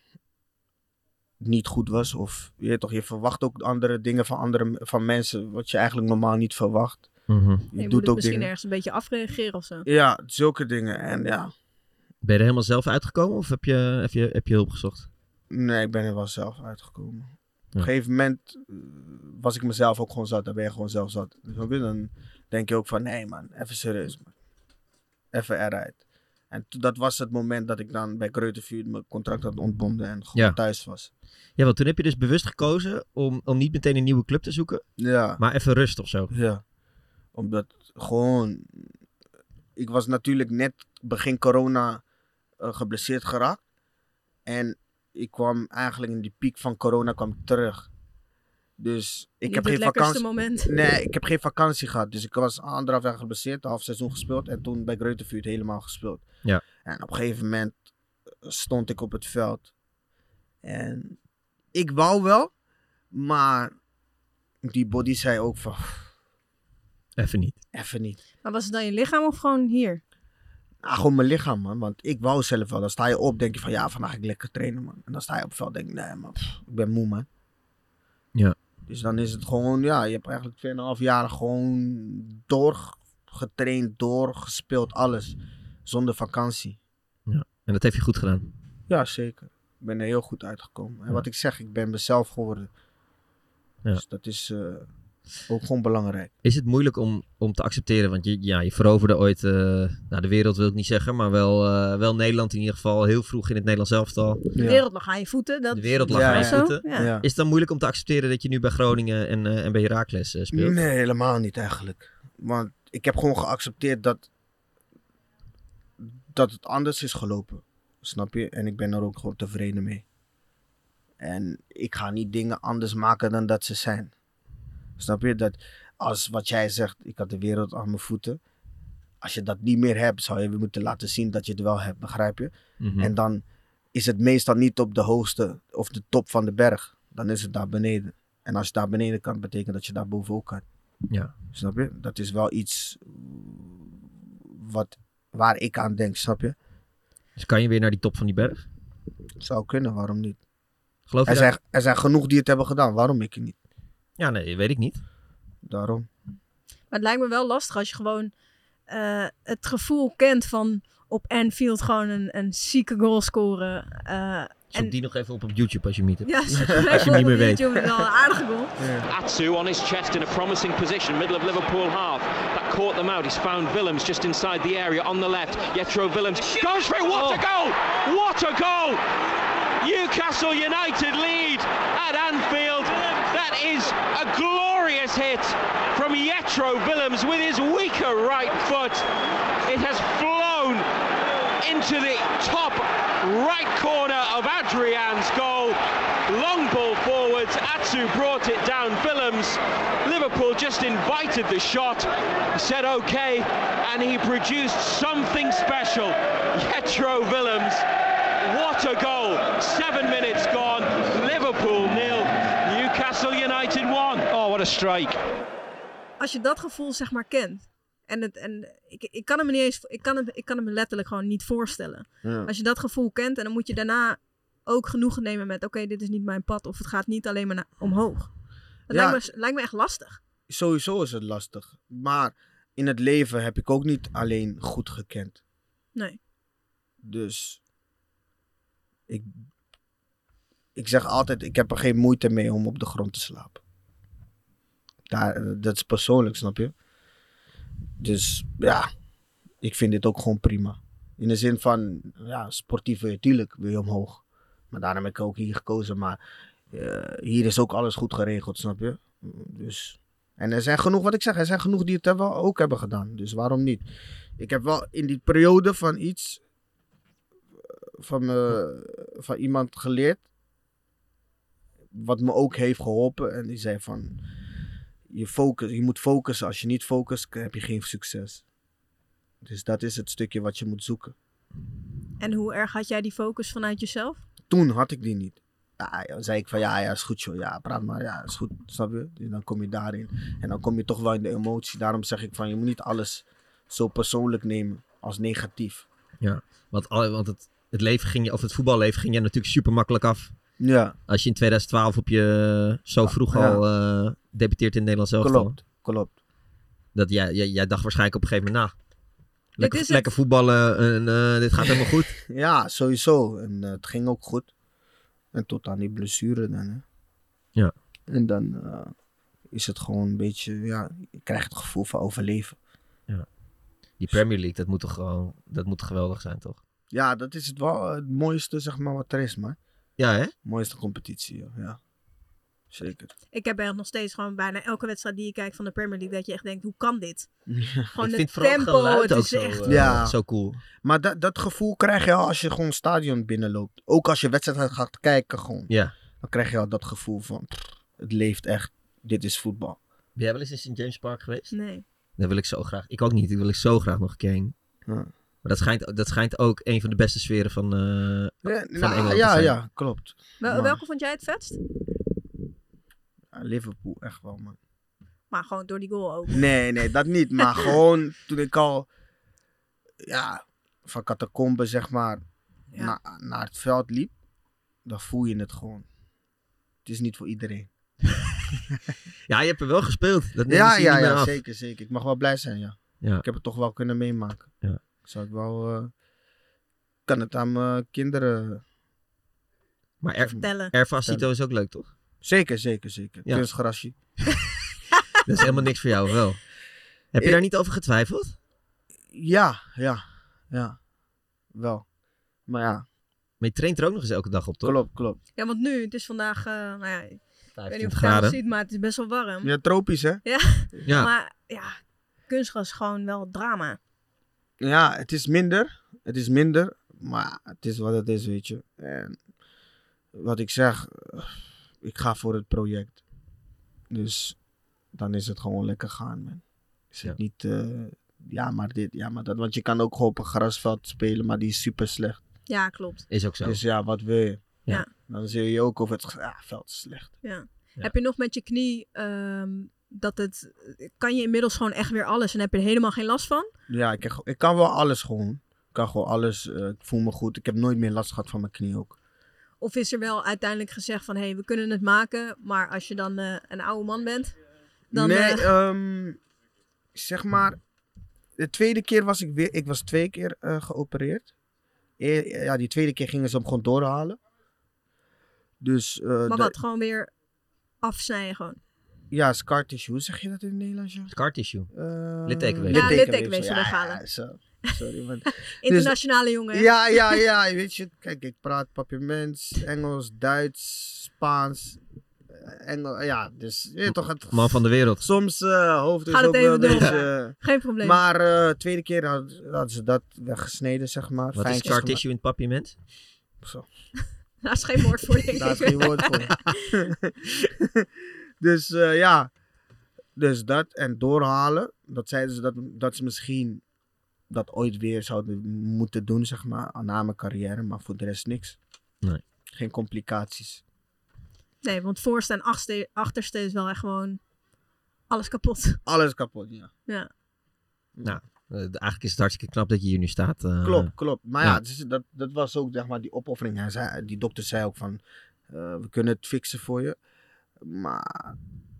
Speaker 5: niet goed was. Of je, weet toch, je verwacht ook andere dingen van, andere, van mensen wat je eigenlijk normaal niet verwacht.
Speaker 1: Mhm.
Speaker 5: Je
Speaker 4: Je, moet
Speaker 5: doet
Speaker 4: het
Speaker 5: ook
Speaker 4: misschien
Speaker 5: dingen.
Speaker 4: ergens een beetje afreageren of zo.
Speaker 5: Ja, zulke dingen. En ja,
Speaker 1: Ben je er helemaal zelf uitgekomen of heb je, heb je, heb je hulp gezocht?
Speaker 5: Nee, ik ben er wel zelf uitgekomen. Op
Speaker 1: Ja.
Speaker 5: een gegeven moment eh, was ik mezelf ook gewoon zat. Dan ben je gewoon zelf zat. Dus Snap je? Dan denk je ook van, nee man, even serieus man. Even eruit. En to- dat was het moment dat ik dan bij Kreutervuur mijn contract had ontbonden en gewoon
Speaker 1: Ja.
Speaker 5: thuis was.
Speaker 1: Ja, want toen heb je dus bewust gekozen om, om niet meteen een nieuwe club te zoeken,
Speaker 5: Ja,
Speaker 1: maar even rust of zo.
Speaker 5: ja. Omdat gewoon... Ik was natuurlijk net begin corona eh, geblesseerd geraakt. En ik kwam eigenlijk in die piek van corona kwam ik terug. Dus ik
Speaker 4: Niet
Speaker 5: heb
Speaker 4: het
Speaker 5: geen
Speaker 4: lekkerste
Speaker 5: vakantie.
Speaker 4: moment.
Speaker 5: Nee, ik heb geen vakantie gehad. Dus ik was anderhalf jaar geblesseerd, half seizoen gespeeld. En toen bij Greutevuur helemaal gespeeld.
Speaker 1: Ja.
Speaker 5: En op een gegeven moment eh, stond ik op het veld. En ik wou wel, maar die body zei ook van, "Pff,
Speaker 1: Even niet.
Speaker 5: even niet.
Speaker 4: Maar was het dan je lichaam of gewoon hier?
Speaker 5: Ah, gewoon mijn lichaam, man. Want ik wou zelf wel. Dan sta je op, denk je van, ja, vandaag ga ik lekker trainen, man. En dan sta je op het veld, denk je, nee, man, pff, ik ben moe, man.
Speaker 1: Ja.
Speaker 5: Dus dan is het gewoon, ja, je hebt eigenlijk 2,5 jaar gewoon doorgetraind, doorgespeeld, alles. Zonder vakantie.
Speaker 1: En dat heeft je goed gedaan.
Speaker 5: Ja, zeker. Ik ben er heel goed uitgekomen. En wat ik zeg, ik ben mezelf geworden.
Speaker 1: Ja.
Speaker 5: Dus dat is eh, ook gewoon belangrijk.
Speaker 1: Is het moeilijk om, om te accepteren? Want je, ja, je veroverde ooit, eh, nou de wereld wil ik niet zeggen, maar wel, eh, wel Nederland in ieder geval. Heel vroeg in het Nederlands elftal.
Speaker 4: De wereld lag aan je voeten. Dat
Speaker 1: De wereld lag
Speaker 5: Ja,
Speaker 1: aan je
Speaker 5: ja.
Speaker 4: Zo?
Speaker 1: voeten.
Speaker 4: Ja.
Speaker 5: Ja.
Speaker 1: Is het dan moeilijk om te accepteren dat je nu bij Groningen en, eh, en bij Heracles eh, speelt?
Speaker 5: Nee, helemaal niet eigenlijk. Want ik heb gewoon geaccepteerd dat, dat het anders is gelopen. Snap je? En ik ben er ook gewoon tevreden mee. En ik ga niet dingen anders maken dan dat ze zijn. Snap je? Dat als wat jij zegt, ik had de wereld aan mijn voeten. Als je dat niet meer hebt, zou je weer moeten laten zien dat je het wel hebt. Begrijp je?
Speaker 1: Mhm.
Speaker 5: En dan is het meestal niet op de hoogste of de top van de berg. Dan is het daar beneden. En als je daar beneden kan, betekent dat je daar boven ook kan.
Speaker 1: Ja.
Speaker 5: Snap je? Dat is wel iets wat, waar ik aan denk, snap je?
Speaker 1: Dus kan je weer naar die top van die berg?
Speaker 5: Zou kunnen, waarom niet?
Speaker 1: Geloof je
Speaker 5: Er
Speaker 1: dat?
Speaker 5: zijn, er zijn genoeg die het hebben gedaan, waarom ik het niet?
Speaker 1: Ja, nee, weet ik niet.
Speaker 5: Daarom.
Speaker 4: Maar het lijkt me wel lastig als je gewoon eh, het gevoel kent van op Anfield gewoon een, een zieke goal scoren. eh,
Speaker 1: Zoek
Speaker 4: En-
Speaker 1: die nog even op op YouTube *laughs* als je hem niet hebt.
Speaker 4: ja, *laughs*
Speaker 1: Als je hem niet meer weet.
Speaker 4: YouTube is wel een aardige goal.
Speaker 8: Atsu on his chest in a promising position, middle of Liverpool half. That caught them out. He's found Willems just inside the area on the left. Yetro Willems goes through. What a goal! What a goal! Newcastle United lead at Anfield. That is a glorious hit from Yetro Willems with his weaker right foot. It has flown into the top right corner of Adrian's goal. Long ball forwards, Atsu brought it down. Willems, Liverpool just invited the shot, said okay, and he produced something special. *laughs* Yetro Willems, what a goal! Seven minutes gone, Liverpool nil, Newcastle United one. Oh, what a strike!
Speaker 4: Als je dat gevoel zeg maar kent. En, het, en ik, ik kan hem niet eens, ik kan hem, ik kan hem letterlijk gewoon niet voorstellen.
Speaker 5: Ja.
Speaker 4: Als je dat gevoel kent en dan moet je daarna ook genoegen nemen met oké, dit is niet mijn pad of het gaat niet alleen maar naar- omhoog. Dat
Speaker 5: Ja.
Speaker 4: lijkt, me, lijkt me echt lastig.
Speaker 5: Sowieso is het lastig. Maar in het leven heb ik ook niet alleen goed gekend.
Speaker 4: Nee.
Speaker 5: Dus ik, ik zeg altijd, ik heb er geen moeite mee om op de grond te slapen. Daar, dat is persoonlijk, snap je? Dus ja, ik vind dit ook gewoon prima. In de zin van, ja, sportief wil je natuurlijk wil je omhoog. Maar daarom heb ik ook hier gekozen. Maar eh, hier is ook alles goed geregeld, snap je? Dus, en er zijn genoeg, wat ik zeg, er zijn genoeg die het hebben, ook hebben gedaan. Dus waarom niet? Ik heb wel in die periode van iets eh, van, me, van iemand geleerd. Wat me ook heeft geholpen. En die zei van, je, focus, je moet focussen. Als je niet focust, k- heb je geen succes. Dus dat is het stukje wat je moet zoeken.
Speaker 4: En hoe erg had jij die focus vanuit jezelf?
Speaker 5: Toen had ik die niet. Ja, dan zei ik van, ja, ja, is goed joh. Ja, praat maar. Ja, is goed. Snap je? En dan kom je daarin. En dan kom je toch wel in de emotie. Daarom zeg ik van, je moet niet alles zo persoonlijk nemen als negatief.
Speaker 1: Want, al- want het, het, leven ging je, of het voetballeven ging je natuurlijk super makkelijk af.
Speaker 5: Ja,
Speaker 1: Als je in 2012 op je eh, zo vroeg
Speaker 5: Ah, Ja.
Speaker 1: al eh, debuteert in het Nederlands elftal.
Speaker 5: klopt. Klopt.
Speaker 1: Dat jij, jij, jij dacht waarschijnlijk op een gegeven moment na. Lekker,
Speaker 4: is het.
Speaker 1: lekker voetballen, en, eh, dit gaat helemaal goed. *laughs*
Speaker 5: Ja, sowieso. En eh, het ging ook goed. En tot aan die blessure dan. Hè.
Speaker 1: Ja.
Speaker 5: En dan eh, is het gewoon een beetje, ja, je krijgt het gevoel van overleven.
Speaker 1: Die Premier League, dat moet toch gewoon, dat moet geweldig zijn, toch?
Speaker 5: Ja, dat is het wel eh, het mooiste, zeg maar, wat er is, man.
Speaker 1: Ja, hè?
Speaker 5: Mooiste competitie, joh. ja. Zeker.
Speaker 4: Ik heb echt nog steeds gewoon bijna elke wedstrijd die je kijkt van de Premier League dat je echt denkt, hoe
Speaker 1: *laughs*
Speaker 4: kan dit? Gewoon
Speaker 1: ik vind
Speaker 4: het
Speaker 1: vooral het
Speaker 4: tempo,
Speaker 1: geluid
Speaker 4: het
Speaker 1: ook
Speaker 4: is
Speaker 1: zo,
Speaker 4: echt...
Speaker 1: eh,
Speaker 5: Ja.
Speaker 1: zo cool.
Speaker 5: Maar dat, dat gevoel krijg je al als je gewoon een stadion binnenloopt. Ook als je wedstrijd gaat kijken, gewoon.
Speaker 1: Ja.
Speaker 5: Dan krijg je al dat gevoel van, pff, het leeft echt. Dit is voetbal.
Speaker 1: Ben jij wel eens in St. James Park geweest?
Speaker 4: Nee.
Speaker 1: Daar wil ik zo graag. Ik ook niet. Ik wil ik zo graag nog een keer heen.
Speaker 5: Ja.
Speaker 1: Maar dat schijnt, dat schijnt ook een van de beste sferen van... eh,
Speaker 5: Ja,
Speaker 1: Engeland
Speaker 5: nou,
Speaker 1: te
Speaker 5: ja,
Speaker 1: zijn.
Speaker 5: ja, klopt.
Speaker 4: Wel-
Speaker 5: Maar-
Speaker 4: Welke vond jij het vetst?
Speaker 5: Ja, Liverpool, echt wel, man.
Speaker 4: Maar gewoon door die goal ook.
Speaker 5: Nee, nee, dat niet.
Speaker 1: *laughs*
Speaker 5: Maar gewoon toen ik al ja, van catacombe zeg maar
Speaker 4: Ja.
Speaker 5: na- naar het veld liep, dan voel je het gewoon. Het is niet voor iedereen.
Speaker 1: Ja, je hebt er wel gespeeld. Dat neem
Speaker 5: Ja, ja,
Speaker 1: niet meer
Speaker 5: ja
Speaker 1: af.
Speaker 5: zeker, zeker. Ik mag wel blij zijn, ja.
Speaker 1: Ja.
Speaker 5: Ik heb het toch wel kunnen meemaken.
Speaker 1: Ja.
Speaker 5: Zou ik wel... eh, kan het aan mijn kinderen...
Speaker 1: Maar er,
Speaker 4: Tellen.
Speaker 1: Erfacito is ook leuk, toch?
Speaker 5: Zeker, zeker, zeker.
Speaker 1: Ja.
Speaker 5: Kunstgrasje.
Speaker 1: Dat is helemaal niks voor jou, of wel?
Speaker 5: *laughs*
Speaker 1: Heb je
Speaker 5: Ik-
Speaker 1: daar niet over getwijfeld?
Speaker 5: Ja, ja, ja. Wel. Maar ja,
Speaker 1: Maar je traint er ook nog eens elke dag op, toch?
Speaker 5: klopt, klopt.
Speaker 4: Ja, want nu, het is vandaag, eh, nou ja, ik weet
Speaker 1: 25
Speaker 4: niet of je het
Speaker 1: graden.
Speaker 4: ziet, maar het is best wel warm.
Speaker 5: Ja, tropisch, hè?
Speaker 1: Ja.
Speaker 4: Maar ja, kunstgras is gewoon wel drama.
Speaker 5: Ja, het is minder. Het is minder. Maar het is wat het is, weet je. En wat ik zeg, eh, ik ga voor het project. Dus dan is het gewoon lekker gaan, man. Is het
Speaker 1: Ja.
Speaker 5: niet, eh, ja, maar dit, ja, maar dat. Want je kan ook gewoon op een grasveld spelen, maar die is super slecht.
Speaker 4: Ja, klopt.
Speaker 1: Is ook zo.
Speaker 5: Dus ja, wat wil je?
Speaker 1: Ja.
Speaker 5: Dan zie je ook of het ja, veld is slecht.
Speaker 1: Ja.
Speaker 4: Heb je nog met je knie, ehm, dat het, kan je inmiddels gewoon echt weer alles en heb je er helemaal geen last van?
Speaker 5: Ja, ik, heb ge- ik kan wel alles gewoon. Ik kan gewoon alles. eh, ik voel me goed. Ik heb nooit meer last gehad van mijn knie ook.
Speaker 4: Of is er wel uiteindelijk gezegd van, hé, hey, we kunnen het maken, maar als je dan eh, een oude man bent, dan...
Speaker 5: nee,
Speaker 4: eh,
Speaker 5: ehm, zeg maar. De tweede keer was ik weer. Ik was twee keer eh, geopereerd. E- ja, die tweede keer gingen ze hem gewoon doorhalen. Dus. eh,
Speaker 4: maar
Speaker 5: de-
Speaker 4: wat, gewoon weer afsnijden gewoon.
Speaker 5: ja, scar tissue. Hoe zeg je dat in het Nederlands? joh?
Speaker 1: Scar tissue.
Speaker 5: Eh,
Speaker 1: Littekenweefsel.
Speaker 4: Ja, littekenweefsel
Speaker 5: Ja,
Speaker 4: weghalen.
Speaker 5: ja, zo. Sorry,
Speaker 4: *laughs*
Speaker 5: man.
Speaker 4: Internationale jongen. hè?
Speaker 5: Ja, ja, ja. Weet je, kijk, ik praat papiermens, Engels, Duits, Spaans. eh, Engel, ja, dus je weet toch het.
Speaker 1: Man van de wereld.
Speaker 5: Soms eh hoofd is
Speaker 4: Gaat het
Speaker 5: ook wel
Speaker 4: even door.
Speaker 5: een beetje-
Speaker 4: Geen probleem.
Speaker 5: Maar eh tweede keer had- hadden ze dat weggesneden, zeg maar.
Speaker 1: Wat is
Speaker 5: Fijntjes
Speaker 1: scar
Speaker 5: gemaakt.
Speaker 1: tissue in het papierment?
Speaker 5: Zo,
Speaker 4: Daar is geen woord voor, denk ik.
Speaker 5: daar is geen woord voor. *laughs* dus eh, ja, dus dat en doorhalen. Dat zeiden ze dat, dat ze misschien dat ooit weer zouden moeten doen, zeg maar, na mijn carrière. Maar voor de rest niks.
Speaker 1: Nee.
Speaker 5: Geen complicaties.
Speaker 4: Nee, want voorste en achtste, achterste is wel echt gewoon alles kapot.
Speaker 5: Alles kapot, ja.
Speaker 1: Eh, eigenlijk is het hartstikke knap dat je hier nu staat. eh.
Speaker 5: Klopt, klopt. Maar
Speaker 1: ja.
Speaker 5: ja, dus dat, dat was ook zeg maar die opoffering. Hij zei, die dokter zei ook van, eh, we kunnen het fixen voor je, maar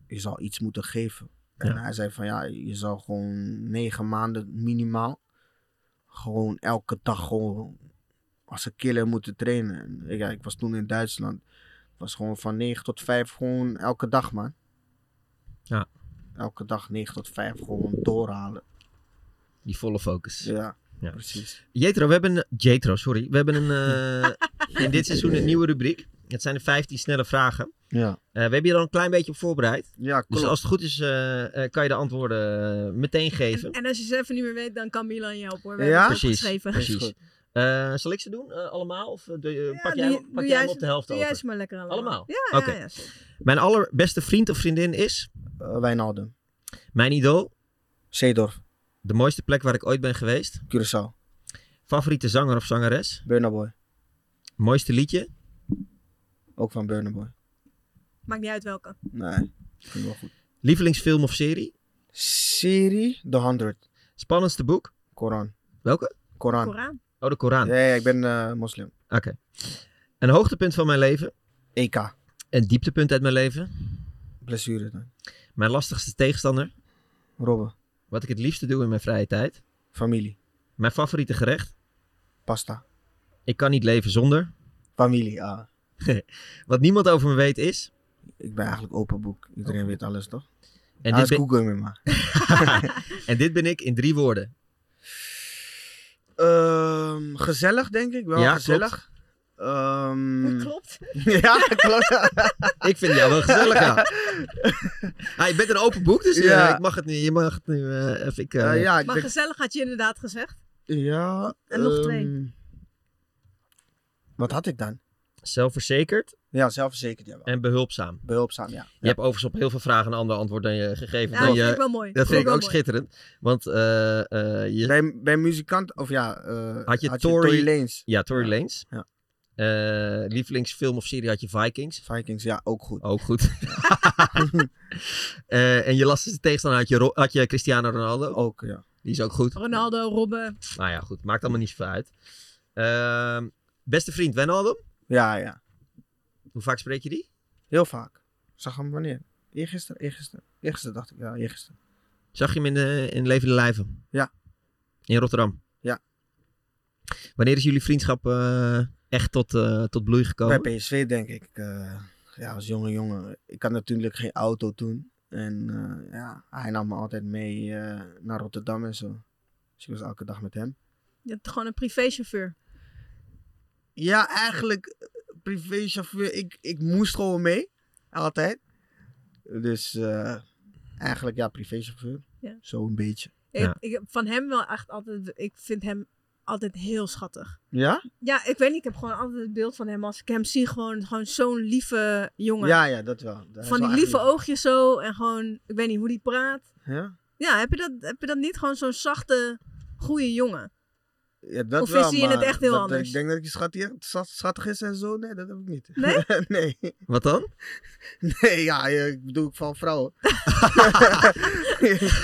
Speaker 5: je zal iets moeten geven. En
Speaker 1: Ja.
Speaker 5: hij zei van, ja, je zal gewoon negen maanden minimaal, gewoon elke dag gewoon als een killer moeten trainen. En ik- ja, ik was toen in Duitsland, Het was gewoon van negen tot vijf gewoon elke dag, man.
Speaker 1: Ja.
Speaker 5: Elke dag negen tot vijf gewoon doorhalen.
Speaker 1: Die volle focus.
Speaker 5: Ja,
Speaker 1: Ja.
Speaker 5: precies.
Speaker 1: Jetro, we hebben een... Jetro, sorry. We hebben een, eh, in dit seizoen een nieuwe rubriek. Het zijn de 15 snelle vragen.
Speaker 5: Ja,
Speaker 1: Eh, we hebben je er al een klein beetje op voorbereid.
Speaker 5: ja klopt.
Speaker 1: Dus als het goed is, eh, eh, kan je de antwoorden eh, meteen geven.
Speaker 4: En als je ze even niet meer weet, dan kan Milan je helpen hoor. We
Speaker 5: Ja?
Speaker 4: hebben het
Speaker 1: Precies.
Speaker 4: opgeschreven.
Speaker 5: Is
Speaker 1: Precies.
Speaker 5: goed.
Speaker 1: Eh, zal ik ze doen eh, allemaal? Of eh, doe je-
Speaker 4: Ja,
Speaker 1: pak jij,
Speaker 4: doe-
Speaker 1: pak
Speaker 4: doe
Speaker 1: jij
Speaker 4: jij
Speaker 1: hem
Speaker 4: ze-
Speaker 1: op de helft
Speaker 4: Doe
Speaker 1: over?
Speaker 4: jij ze maar lekker allemaal.
Speaker 1: Allemaal?
Speaker 4: Ja,
Speaker 1: Oké.
Speaker 4: ja, ja, zeker.
Speaker 1: Mijn allerbeste vriend of vriendin is...
Speaker 5: Eh, Wijnaldum.
Speaker 1: Mijn idool.
Speaker 5: Zeedorf.
Speaker 1: De mooiste plek waar ik ooit ben geweest.
Speaker 5: Curaçao.
Speaker 1: Favoriete zanger of zangeres.
Speaker 5: Burna Boy.
Speaker 1: Mooiste liedje.
Speaker 5: Ook van Burna Boy.
Speaker 4: Maakt niet uit welke.
Speaker 5: Nee, vind ik wel goed.
Speaker 1: Lievelingsfilm of serie.
Speaker 5: Serie The 100.
Speaker 1: Spannendste boek.
Speaker 5: Koran.
Speaker 1: Welke?
Speaker 5: Koran.
Speaker 4: Koran.
Speaker 1: Oh, de Koran.
Speaker 5: Ja, ja, ik ben eh, moslim. E
Speaker 1: Oké. Een hoogtepunt van mijn leven.
Speaker 5: EK.
Speaker 1: Een dieptepunt uit mijn leven.
Speaker 5: Blessure dan.
Speaker 1: Mijn lastigste tegenstander.
Speaker 5: Robben.
Speaker 1: Wat ik het liefste doe in mijn vrije tijd.
Speaker 5: Familie.
Speaker 1: Mijn favoriete gerecht.
Speaker 5: Pasta.
Speaker 1: Ik kan niet leven zonder.
Speaker 5: Familie. Ah.
Speaker 1: Wat niemand over me weet is.
Speaker 5: Ik ben eigenlijk open boek. Iedereen weet alles toch?
Speaker 1: En,
Speaker 5: Alles
Speaker 1: dit ben,
Speaker 5: Google me maar.
Speaker 1: en dit ben ik in drie woorden.
Speaker 5: Ehm, gezellig denk ik wel.
Speaker 1: Ja,
Speaker 5: gezellig. Ehm,
Speaker 4: Klopt.
Speaker 5: *laughs* ja, klopt.
Speaker 1: Ik vind jou
Speaker 5: *laughs*
Speaker 1: wel gezellig, ja. Ah, je bent een open boek, dus eh,
Speaker 5: Ja.
Speaker 1: ik mag het nu. Je mag het nu. eh, even, ik, eh,
Speaker 5: Eh, ja, ik
Speaker 4: Maar
Speaker 5: denk-
Speaker 4: gezellig had je inderdaad gezegd.
Speaker 5: Ja.
Speaker 4: En nog twee.
Speaker 5: ehm, Wat had ik dan?
Speaker 1: Zelfverzekerd
Speaker 5: Ja, zelfverzekerd, ja. wel.
Speaker 1: en behulpzaam.
Speaker 5: Behulpzaam, ja.
Speaker 1: Je hebt overigens op heel veel vragen een ander antwoord dan je gegeven.
Speaker 4: Ja,
Speaker 1: dan je-
Speaker 4: dat vind Nou, ik wel mooi.
Speaker 1: eh, dat vind ik
Speaker 4: wel
Speaker 1: ook
Speaker 4: mooi.
Speaker 1: schitterend. Want eh, eh, je,
Speaker 5: Bij, bij muzikant, of ja, eh,
Speaker 1: Had je Tory-
Speaker 5: Tory... Lanez.
Speaker 1: ja, Tory Lanez.
Speaker 5: Ja.
Speaker 1: Eh, lievelingsfilm of serie had je Vikings.
Speaker 5: Vikings, ja, ook goed.
Speaker 1: Ook goed. Eh, en je lastigste tegenstander had je, Ro- had je Cristiano Ronaldo.
Speaker 5: Ook, ja.
Speaker 1: Die is ook goed.
Speaker 4: Ronaldo, Robben.
Speaker 1: Nou ja, goed. Maakt allemaal niet zoveel uit. Ehm, beste vriend Wijnaldum.
Speaker 5: Ja, ja.
Speaker 1: Hoe vaak spreek je die?
Speaker 5: Heel vaak. Zag hem wanneer? Eergisteren, eergisteren. Eergisteren dacht ik, ja, eergisteren.
Speaker 1: Zag je hem in, de, in Levende Lijven?
Speaker 5: Ja.
Speaker 1: In Rotterdam?
Speaker 5: Ja.
Speaker 1: Wanneer is jullie vriendschap eh, echt tot, eh, tot bloei gekomen?
Speaker 5: Bij PSV denk ik, eh, ja, als jonge jongen. Ik had natuurlijk geen auto toen. En eh, ja, hij nam me altijd mee eh, naar Rotterdam en zo. Dus ik was elke dag met hem.
Speaker 4: Je hebt gewoon een privéchauffeur.
Speaker 5: Ja, eigenlijk eh, privéchauffeur. Ik, ik moest gewoon mee. Altijd. Dus eh, eigenlijk ja, privéchauffeur.
Speaker 4: Ja.
Speaker 5: Zo een beetje.
Speaker 4: Ik,
Speaker 1: Ja.
Speaker 4: ik heb van hem wel echt altijd... Ik vind hem altijd heel schattig.
Speaker 5: Ja?
Speaker 4: Ja, ik weet niet. Ik heb gewoon altijd het beeld van hem. Als ik hem zie, gewoon, gewoon zo'n lieve jongen.
Speaker 5: Ja, ja, dat wel. Dat is
Speaker 4: van
Speaker 5: wel
Speaker 4: die
Speaker 5: echt
Speaker 4: lieve
Speaker 5: lief.
Speaker 4: oogjes zo. En gewoon, ik weet niet hoe die praat.
Speaker 5: Ja,
Speaker 4: Ja, heb je dat, heb je dat niet? Gewoon zo'n zachte, goede jongen.
Speaker 5: ja dat
Speaker 4: Of is
Speaker 5: wel,
Speaker 4: hij in het
Speaker 5: maar
Speaker 4: echt heel
Speaker 5: dat-
Speaker 4: anders?
Speaker 5: Ik denk dat ik schat hier, schat- schattig is en zo. Nee, dat heb ik niet.
Speaker 4: Nee?
Speaker 5: *laughs* nee.
Speaker 1: Wat dan?
Speaker 5: Nee, ja, ja, ik bedoel ik van vrouwen.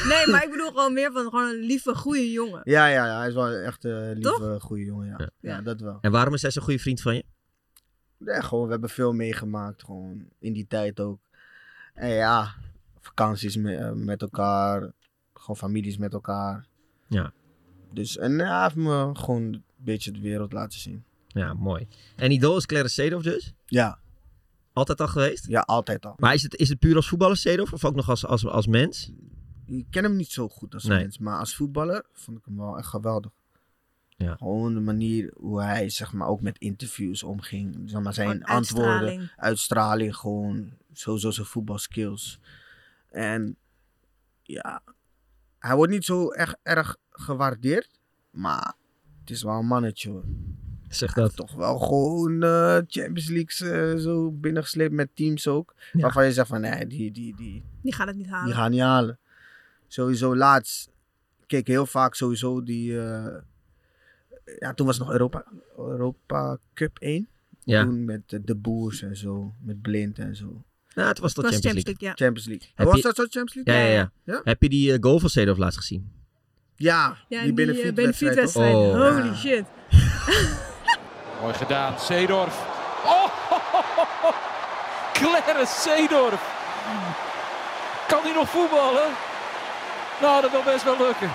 Speaker 4: Nee, maar ik bedoel gewoon meer van gewoon een lieve, goede
Speaker 5: *laughs*
Speaker 4: jongen.
Speaker 5: Ja, ja, ja, hij is wel echt een eh,
Speaker 4: Toch?
Speaker 5: lieve, goede jongen. Ja. Ja.
Speaker 4: Ja.
Speaker 5: dat wel.
Speaker 1: En waarom is hij zo'n goede vriend van je?
Speaker 5: Ja, gewoon, we hebben veel meegemaakt, gewoon in die tijd ook. En ja, vakanties me- eh, met elkaar, gewoon families met elkaar.
Speaker 1: Ja.
Speaker 5: Dus, en ja, hij heeft me gewoon een beetje de wereld laten zien.
Speaker 1: Ja, mooi. En idool is Clarence Seedorf dus?
Speaker 5: Ja,
Speaker 1: Altijd al geweest?
Speaker 5: ja, altijd al.
Speaker 1: Maar is het, is het puur als voetballer Seedorf of ook nog als, als, als mens?
Speaker 5: Ik ken hem niet zo goed als
Speaker 1: Nee.
Speaker 5: mens, maar als voetballer vond ik hem wel echt geweldig.
Speaker 1: Ja.
Speaker 5: Gewoon de manier hoe hij zeg maar, ook met interviews omging. Zeg maar, zijn
Speaker 4: Gewoon
Speaker 5: antwoorden.
Speaker 4: uitstraling.
Speaker 5: uitstraling gewoon. Sowieso zijn voetbalskills. En ja, hij wordt niet zo erg, erg gewaardeerd. Maar het is wel een mannetje hoor.
Speaker 1: Zeg
Speaker 5: Hij heeft toch wel gewoon eh, Champions League eh, zo binnengesleept met teams ook.
Speaker 1: Ja.
Speaker 5: Waarvan je zegt van nee, die, die, die,
Speaker 4: Die gaat het niet halen.
Speaker 5: die gaan niet halen. Sowieso laatst keek ik heel vaak sowieso die... eh, ja, toen was het nog Europa, Europa Cup 1.
Speaker 1: Ja.
Speaker 5: Toen met eh, de Boers en zo. Met Blind en zo.
Speaker 1: Nou, het was tot
Speaker 4: Dat was
Speaker 1: Champions League.
Speaker 4: Champions League, ja.
Speaker 5: Champions League.
Speaker 1: Heb
Speaker 5: was
Speaker 1: je-
Speaker 5: dat zo Champions League?
Speaker 1: Ja, ja, ja,
Speaker 5: Ja?
Speaker 1: Heb je die eh, goal van Seedorf laatst gezien?
Speaker 5: Ja,
Speaker 4: Ja,
Speaker 5: die
Speaker 4: in die eh,
Speaker 5: benefietwedstrijd. toch?
Speaker 4: benefietwedstrijd.
Speaker 1: toch? Oh.
Speaker 4: Holy
Speaker 5: Ja.
Speaker 4: shit.
Speaker 7: Mooi gedaan, Seedorf. Oh, Clarence Seedorf. Kan hij nog voetballen? Nou, dat wil best wel lukken.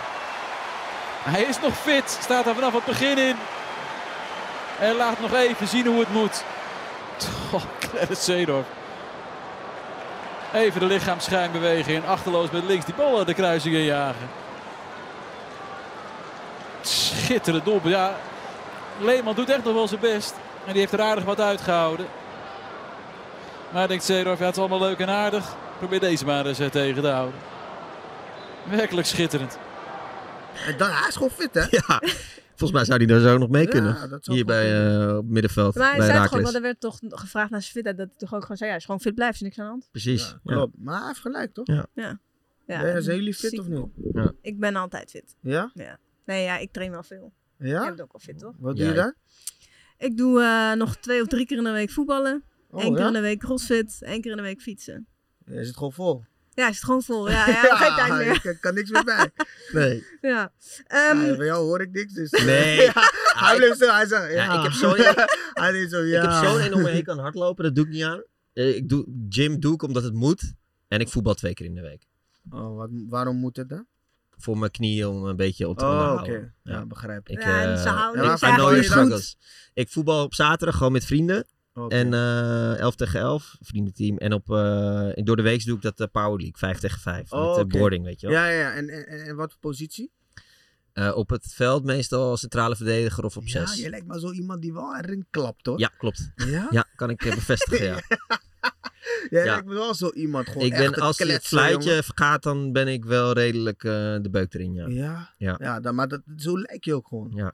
Speaker 7: Hij is nog fit, staat er vanaf het begin in. En laat nog even zien hoe het moet. *laughs* Oh, Clarence Seedorf. Even de lichaamsschuim bewegen en achterloos met links die bal eh, de kruising injagen. Schitterend doelpunt. Ja, Leeman doet echt nog wel zijn best. En die heeft er aardig wat uitgehouden. Maar denkt Zeedorf, ja, het is allemaal leuk en aardig. Probeer deze maar eens eh, tegen te houden. Werkelijk schitterend.
Speaker 5: En dan, hij is gewoon fit, hè?
Speaker 1: Ja. Volgens mij zou die daar zo nog mee
Speaker 5: Ja,
Speaker 1: kunnen.
Speaker 5: dat zou
Speaker 1: Hier
Speaker 5: goed
Speaker 1: bij
Speaker 5: kunnen.
Speaker 1: eh, op middenveld.
Speaker 4: Maar hij
Speaker 1: bij
Speaker 4: zei het gewoon,
Speaker 1: Raakles.
Speaker 4: want er werd toch gevraagd naar zijn fitheid. Dat hij toch ook gewoon zei, ja, als je gewoon fit blijft, is niks aan de hand.
Speaker 1: Precies.
Speaker 5: Ja,
Speaker 1: ja.
Speaker 5: klopt. Maar hij heeft gelijk, toch?
Speaker 1: Ja.
Speaker 4: Ja,
Speaker 5: Ja, zijn jullie fit
Speaker 4: ziek.
Speaker 5: of niet?
Speaker 4: Ik ben altijd fit.
Speaker 5: Ja?
Speaker 4: Nee, ja, ik train wel veel. Jij
Speaker 5: Ja?
Speaker 4: bent ook wel fit, toch?
Speaker 5: Wat
Speaker 1: Ja,
Speaker 5: doe je
Speaker 1: ja.
Speaker 5: dan?
Speaker 4: Ik doe eh, nog twee of drie keer in de week voetballen.
Speaker 5: Oh,
Speaker 4: Eén keer
Speaker 5: ja?
Speaker 4: in de week crossfit. Één keer in de week fietsen.
Speaker 5: Hij zit gewoon vol.
Speaker 4: Ja, is het gewoon vol.
Speaker 5: *laughs*
Speaker 4: Ja, ja, ja. geen tijd meer.
Speaker 5: ik kan- kan niks meer bij.
Speaker 1: Nee.
Speaker 4: Ja.
Speaker 5: Ja,
Speaker 4: *laughs* Ehm,
Speaker 5: Bij jou hoor ik niks, dus...
Speaker 1: Nee.
Speaker 5: *laughs* Ja, hij
Speaker 1: Ah, ik-
Speaker 5: bleef stil, hij zegt... Ja,
Speaker 1: Ja, ik heb zo'n-
Speaker 5: *laughs* hij deed zo,
Speaker 1: Ik
Speaker 5: ja.
Speaker 1: heb zo'n
Speaker 5: *laughs*
Speaker 1: enorme hekel aan hardlopen, dat doe ik niet aan. Eh, Ik doe, gym doe ik omdat het moet. En ik voetbal twee keer in de week.
Speaker 5: Oh, wat, waarom moet het dan?
Speaker 1: Voor mijn knieën om een beetje op te
Speaker 5: Oh, oké.
Speaker 1: onderhouden. Ja.
Speaker 5: Ja, begrijp ik.
Speaker 1: Ik,
Speaker 4: Ja, en ze
Speaker 1: eh,
Speaker 4: houden
Speaker 1: ik-
Speaker 5: het
Speaker 1: I
Speaker 5: eigenlijk
Speaker 1: know your
Speaker 5: niet goed.
Speaker 1: struggles. Ik voetbal op zaterdag gewoon met vrienden.
Speaker 5: Oké.
Speaker 1: En eh 11 tegen 11, vriendenteam. En op, eh, in- door de week doe ik dat eh, Power League, 5 tegen 5.
Speaker 5: Oh,
Speaker 1: met eh,
Speaker 5: oké.
Speaker 1: boarding, weet je wel.
Speaker 5: Ja, ja, ja. En, en, en- en wat voor positie?
Speaker 1: Eh, op het veld meestal als centrale verdediger of op
Speaker 5: ja,
Speaker 1: 6.
Speaker 5: je
Speaker 1: Ja,
Speaker 5: lijkt maar zo iemand die wel erin klapt, hoor.
Speaker 1: klopt.
Speaker 5: Ja?
Speaker 1: Ja, kan ik eh, bevestigen, ja.
Speaker 5: Jij
Speaker 1: Ja.
Speaker 5: lijkt me wel zo iemand. *laughs* Gewoon
Speaker 1: Ik ben,
Speaker 5: echt een
Speaker 1: als het
Speaker 5: kletser,
Speaker 1: fluitje gaat, dan ben ik wel redelijk eh, de beuk erin, ja.
Speaker 5: jongen. Ja,
Speaker 1: Ja.
Speaker 5: ja. dan- maar dat, zo lijk je ook gewoon.
Speaker 1: Ja.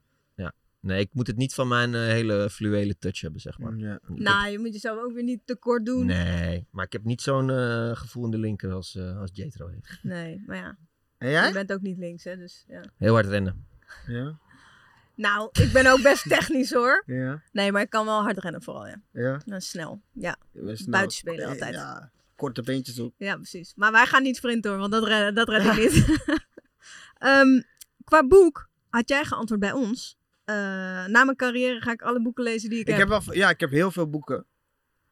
Speaker 1: Nee, ik moet het niet van mijn eh, hele fluwele touch hebben, zeg maar.
Speaker 5: Ja.
Speaker 1: Ik
Speaker 4: Nou, je moet jezelf ook weer niet tekort
Speaker 1: heb-
Speaker 4: doen.
Speaker 1: Nee, maar ik heb niet zo'n eh, gevoel in de linker als, eh als Jetro heeft.
Speaker 4: Nee, maar ja,
Speaker 5: En
Speaker 4: je
Speaker 5: jij?
Speaker 4: bent ook niet links, hè. Dus, ja.
Speaker 1: Heel hard rennen.
Speaker 5: Ja.
Speaker 4: Nou, ik ben ook
Speaker 5: *laughs*
Speaker 4: best technisch hoor.
Speaker 5: Ja.
Speaker 4: Nee, maar ik kan wel hard rennen vooral, ja.
Speaker 5: Ja.
Speaker 4: En snel. Ja,
Speaker 5: Je bent snel. Eh,
Speaker 4: Buitenspelen altijd.
Speaker 5: Ja. Korte beentjes ook.
Speaker 4: ja, precies. Maar wij gaan niet sprinten hoor, want dat red, dat red ik
Speaker 5: *laughs*
Speaker 4: niet. Ehm, qua boek had jij geantwoord bij ons. Eh, na mijn carrière ga ik alle boeken lezen die ik,
Speaker 5: Ik
Speaker 4: heb.
Speaker 5: heb wel, ja, ik heb heel veel boeken.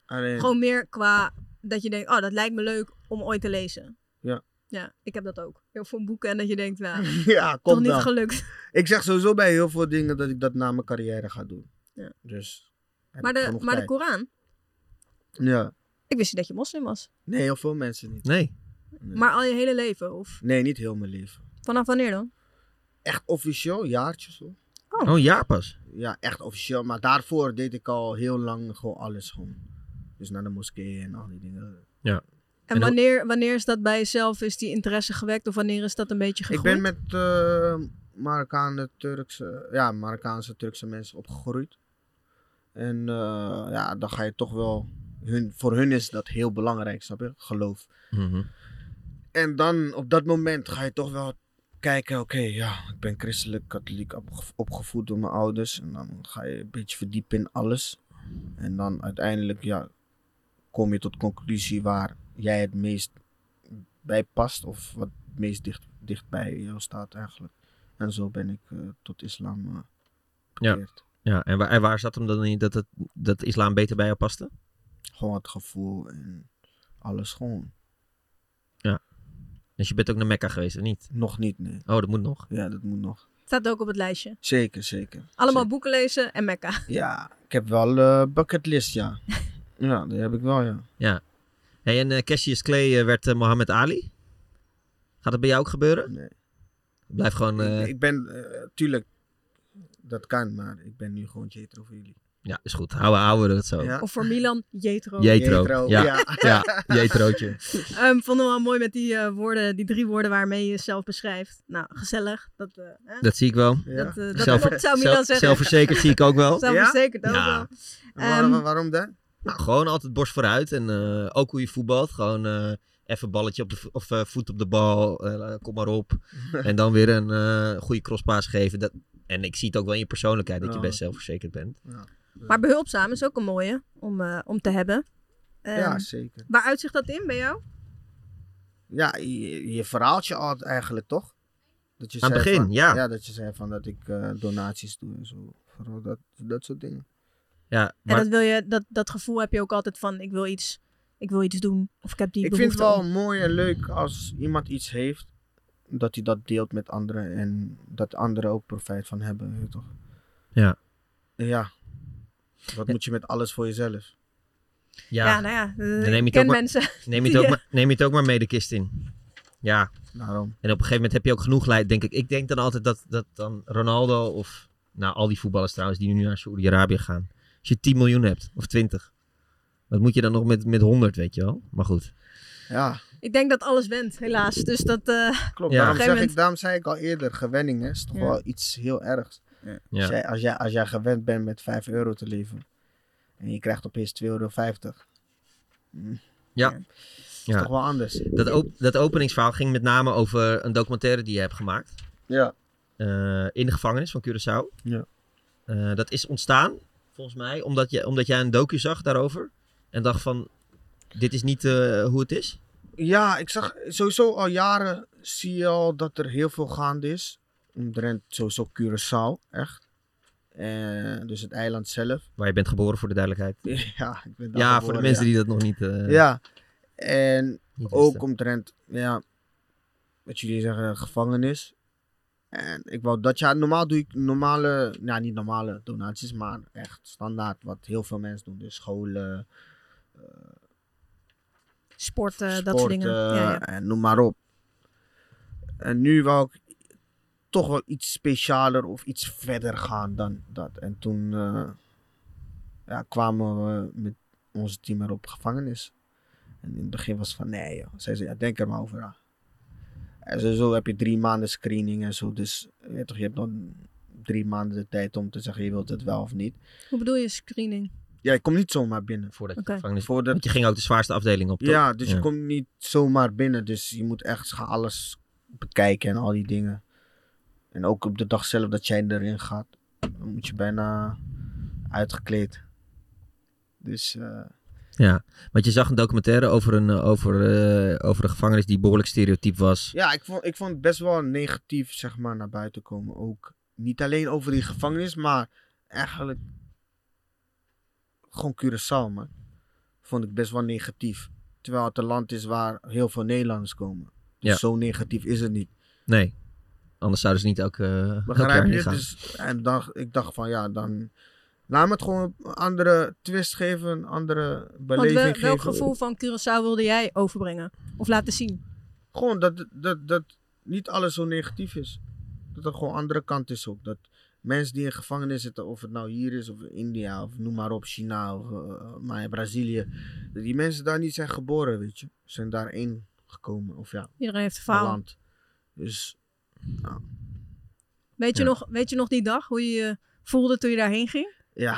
Speaker 5: Alleen,
Speaker 4: Gewoon meer qua dat je denkt, oh, dat lijkt me leuk om ooit te lezen.
Speaker 5: Ja.
Speaker 4: Ja, ik heb dat ook. Heel veel boeken en dat je denkt,
Speaker 5: *laughs*
Speaker 4: nou,
Speaker 5: *laughs* ja,
Speaker 4: toch
Speaker 5: komt
Speaker 4: niet
Speaker 5: wel.
Speaker 4: gelukt.
Speaker 5: Ik zeg sowieso bij heel veel dingen dat ik dat na mijn carrière ga doen.
Speaker 4: Ja.
Speaker 5: Dus. heb
Speaker 4: Maar
Speaker 5: ik
Speaker 4: de,
Speaker 5: genoeg
Speaker 4: maar de
Speaker 5: tijd.
Speaker 4: Koran,
Speaker 5: Ja.
Speaker 4: ik wist niet dat je moslim was.
Speaker 5: Nee, heel veel mensen niet.
Speaker 1: Nee.
Speaker 5: Nee.
Speaker 4: Maar al je hele leven, of
Speaker 5: Nee, niet heel mijn leven.
Speaker 4: vanaf wanneer dan?
Speaker 5: Echt officieel, jaartjes hoor.
Speaker 1: Oh, een jaar pas.
Speaker 5: Ja, echt officieel. Maar daarvoor deed ik al heel lang gewoon alles gewoon. Dus naar de moskee en al die dingen.
Speaker 1: En
Speaker 4: En,
Speaker 1: hoe-
Speaker 4: wanneer, wanneer is dat bij jezelf? Is die interesse gewekt of wanneer is dat een beetje
Speaker 5: Ik
Speaker 4: gegroeid?
Speaker 5: ben met eh Marokkaanse, Turkse, ja, Marokkaanse, Turkse mensen opgegroeid. En eh, ja, dan ga je toch wel... Hun, voor hun is dat heel belangrijk, snap je? Geloof.
Speaker 1: Mhm.
Speaker 5: En dan op dat moment ga je toch wel kijken, oké, ja, ik ben christelijk, katholiek opge- opgevoed door mijn ouders. En dan ga je een beetje verdiepen in alles. En dan uiteindelijk, ja, kom je tot conclusie waar jij het meest bij past of wat het meest dicht, dicht bij jou staat eigenlijk. En zo ben ik eh, tot islam eh bekeerd.
Speaker 1: Ja, en waar, en waar zat hem dan in dat, het, dat islam beter bij jou paste?
Speaker 5: Gewoon het gevoel en alles gewoon.
Speaker 1: Dus je bent ook naar Mekka geweest, of niet?
Speaker 5: Nog niet, nee.
Speaker 1: Oh, dat moet nog.
Speaker 5: Ja, dat moet nog.
Speaker 4: Staat ook op het lijstje.
Speaker 5: Zeker, zeker.
Speaker 4: Allemaal boeken lezen en Mekka.
Speaker 5: Ja, ik heb wel eh bucketlist,
Speaker 4: *laughs*
Speaker 5: ja. ja, die heb ik wel, ja.
Speaker 1: Hey, en eh, Cassius Clay eh, werd eh, Mohammed Ali. Gaat dat bij jou ook gebeuren?
Speaker 5: Nee.
Speaker 1: Blijf gewoon... eh,
Speaker 5: Ik, ik ben, eh, tuurlijk, dat kan, maar ik ben nu gewoon Jetro voor jullie.
Speaker 1: Ja, is goed. Houden, houden we dat zo.
Speaker 5: Ja.
Speaker 4: Of voor Milan, Jetro.
Speaker 1: Jetro. Oh. Ja. ja. *laughs* Jetrootje.
Speaker 4: Ehm, vonden we wel mooi met die eh, woorden, die drie woorden waarmee je jezelf beschrijft. Nou, gezellig. Dat, eh, hè?
Speaker 1: Dat zie ik wel.
Speaker 5: Ja.
Speaker 4: dat, eh, dat
Speaker 1: Zelf-
Speaker 4: klopt, zou
Speaker 1: Zelf-
Speaker 4: Milan zeggen.
Speaker 1: zelfverzekerd zie ik ook
Speaker 4: *laughs*
Speaker 1: wel.
Speaker 4: Zelfverzekerd ook
Speaker 1: Ja.
Speaker 4: wel.
Speaker 5: En *laughs* waarom,
Speaker 4: Ehm,
Speaker 5: waarom dan?
Speaker 1: Nou, gewoon altijd borst vooruit. En eh, ook hoe je voetbalt. Gewoon eh, even balletje op de vo- of eh, voet op de bal. eh, kom maar
Speaker 4: *laughs*
Speaker 1: op. en dan weer een eh, goede crosspaas geven. Dat, en ik zie het ook wel in je persoonlijkheid dat je
Speaker 4: Oh.
Speaker 5: Ja.
Speaker 1: best zelfverzekerd bent.
Speaker 4: Maar behulpzaam is ook een mooie om, eh, om te hebben. Ehm,
Speaker 5: ja, zeker.
Speaker 4: Waar uitzicht dat in bij jou?
Speaker 5: Ja, je, je verhaaltje al eigenlijk, toch? Dat je
Speaker 1: Aan het
Speaker 5: zei
Speaker 1: begin,
Speaker 5: van-
Speaker 1: ja.
Speaker 5: Ja, dat je zei van dat ik eh, donaties doe en zo. Vooral dat, dat soort dingen.
Speaker 1: Ja,
Speaker 4: En
Speaker 1: maar
Speaker 4: dat, wil je, dat, dat gevoel heb je ook altijd van, ik wil iets, ik wil iets doen. Of ik heb die
Speaker 5: ik vind het
Speaker 4: behoefte
Speaker 5: wel
Speaker 4: om-
Speaker 5: mooi en leuk als iemand iets heeft, dat hij dat deelt met anderen en dat anderen ook profijt van hebben, weet je toch?
Speaker 1: Ja.
Speaker 5: Ja. Wat moet je met alles voor jezelf?
Speaker 4: Ja,
Speaker 1: ja,
Speaker 4: nou ja, eh,
Speaker 1: neem je
Speaker 4: ik
Speaker 1: het
Speaker 4: ken
Speaker 1: ook maar-
Speaker 4: mensen. *laughs*
Speaker 1: neem, je het ook
Speaker 4: Ja.
Speaker 1: maar, neem je het ook maar mee de kist in. Ja,
Speaker 5: Daarom.
Speaker 1: en op een gegeven moment heb je ook genoeg leid, denk ik. Ik denk dan altijd dat, dat dan Ronaldo of... Nou, al die voetballers trouwens die nu naar Saoedi-Arabië gaan. Als je 10 miljoen hebt, of 20. Wat moet je dan nog met, met 100, weet je wel? Maar goed.
Speaker 5: Ja,
Speaker 4: Ik denk dat alles went, helaas. Dus dat, eh,
Speaker 5: klopt.
Speaker 1: Ja. Op
Speaker 5: Daarom,
Speaker 1: een
Speaker 4: gegeven
Speaker 5: zeg
Speaker 4: moment-
Speaker 5: ik, daarom zei ik al eerder, gewenning hè, is toch
Speaker 4: Ja.
Speaker 5: wel iets heel ergs. Als,
Speaker 1: Ja.
Speaker 5: jij, als, jij, als jij gewend bent met 5 euro te leven en je krijgt opeens 2,50 euro, is
Speaker 1: ja.
Speaker 5: toch wel anders.
Speaker 1: Dat, op- dat openingsverhaal ging met name over een documentaire die je hebt gemaakt.
Speaker 5: Ja.
Speaker 1: eh, in de gevangenis van Curaçao.
Speaker 5: Ja.
Speaker 1: Eh, dat is ontstaan, volgens mij, omdat, je, omdat jij een docu zag daarover. En dacht van, dit is niet eh, hoe het is.
Speaker 5: Ja, ik zag sowieso al jaren zie je al dat er heel veel gaande is. Omtrent sowieso Curaçao, echt. En dus het eiland zelf. *laughs*
Speaker 1: Waar je bent geboren, voor de duidelijkheid.
Speaker 5: Ja, ik ben daar
Speaker 1: ja, voor de
Speaker 5: geboren,
Speaker 1: mensen
Speaker 5: ja.
Speaker 1: die dat nog niet, eh
Speaker 5: Ja, en
Speaker 1: niet
Speaker 5: ook
Speaker 1: wisten.
Speaker 5: omtrent, ja, wat jullie zeggen, gevangenis. En ik wou dat, ja, normaal doe ik normale, nou niet normale donaties, maar echt standaard wat heel veel mensen doen. Dus scholen,
Speaker 4: sporten,
Speaker 5: sport,
Speaker 4: eh,
Speaker 5: eh,
Speaker 4: dat soort dingen. Ja, ja.
Speaker 5: en noem maar op. En nu wou ik toch wel iets specialer of iets verder gaan dan dat. En toen eh, ja, kwamen we met onze team erop gevangenis. En in het begin was het van nee joh. Zij zei ja, denk er maar over na. En zo heb je drie maanden screening en zo. Dus je, weet toch, je hebt dan hebt drie maanden de tijd om te zeggen je wilt het wel of niet.
Speaker 4: Hoe bedoel je screening?
Speaker 5: Ja, je komt niet zomaar binnen.
Speaker 1: Voordat
Speaker 4: Oké.
Speaker 1: je gevangenis...
Speaker 5: Voordat-
Speaker 1: Want je ging ook de zwaarste afdeling op, toch?
Speaker 5: Ja, dus
Speaker 1: Ja.
Speaker 5: je komt niet zomaar binnen. Dus je moet echt gaan alles bekijken en al die dingen. En ook op de dag zelf dat jij erin gaat, dan moet je bijna uitgekleed. Dus eh,
Speaker 1: Want je zag een documentaire over een, eh, over, eh, over een gevangenis die behoorlijk stereotyp was.
Speaker 5: ja, ik vond, ik vond het best wel negatief, zeg maar, naar buiten komen. Ook niet alleen over die gevangenis, maar eigenlijk gewoon Curaçao, man. Vond ik best wel negatief. Terwijl het een land is waar heel veel Nederlanders komen. Dus
Speaker 1: Ja.
Speaker 5: zo negatief is het niet.
Speaker 1: Nee. Anders zouden ze niet ook eh elk jaar
Speaker 5: Begrijp
Speaker 1: heen
Speaker 5: je?
Speaker 1: gaan.
Speaker 5: Dus, en dan, ik dacht van ja, dan laat me het gewoon een andere twist geven, een andere
Speaker 4: Want
Speaker 5: beleving
Speaker 4: wel- welk
Speaker 5: geven.
Speaker 4: gevoel van Curaçao wilde jij overbrengen? Of laten zien?
Speaker 5: Gewoon dat, dat, dat niet alles zo negatief is. Dat er gewoon andere kant is ook. Dat mensen die in gevangenis zitten, of het nou hier is, of in India, of noem maar op, China, of eh, maar in Brazilië. Dat die mensen daar niet zijn geboren, weet je. Ze zijn daarin gekomen, of ja,
Speaker 4: Iedereen heeft een
Speaker 5: een
Speaker 4: verhaal.
Speaker 5: land. Dus
Speaker 4: Weet je,
Speaker 1: Ja.
Speaker 4: nog, weet je nog die dag hoe je je voelde toen je daarheen ging?
Speaker 5: Ja.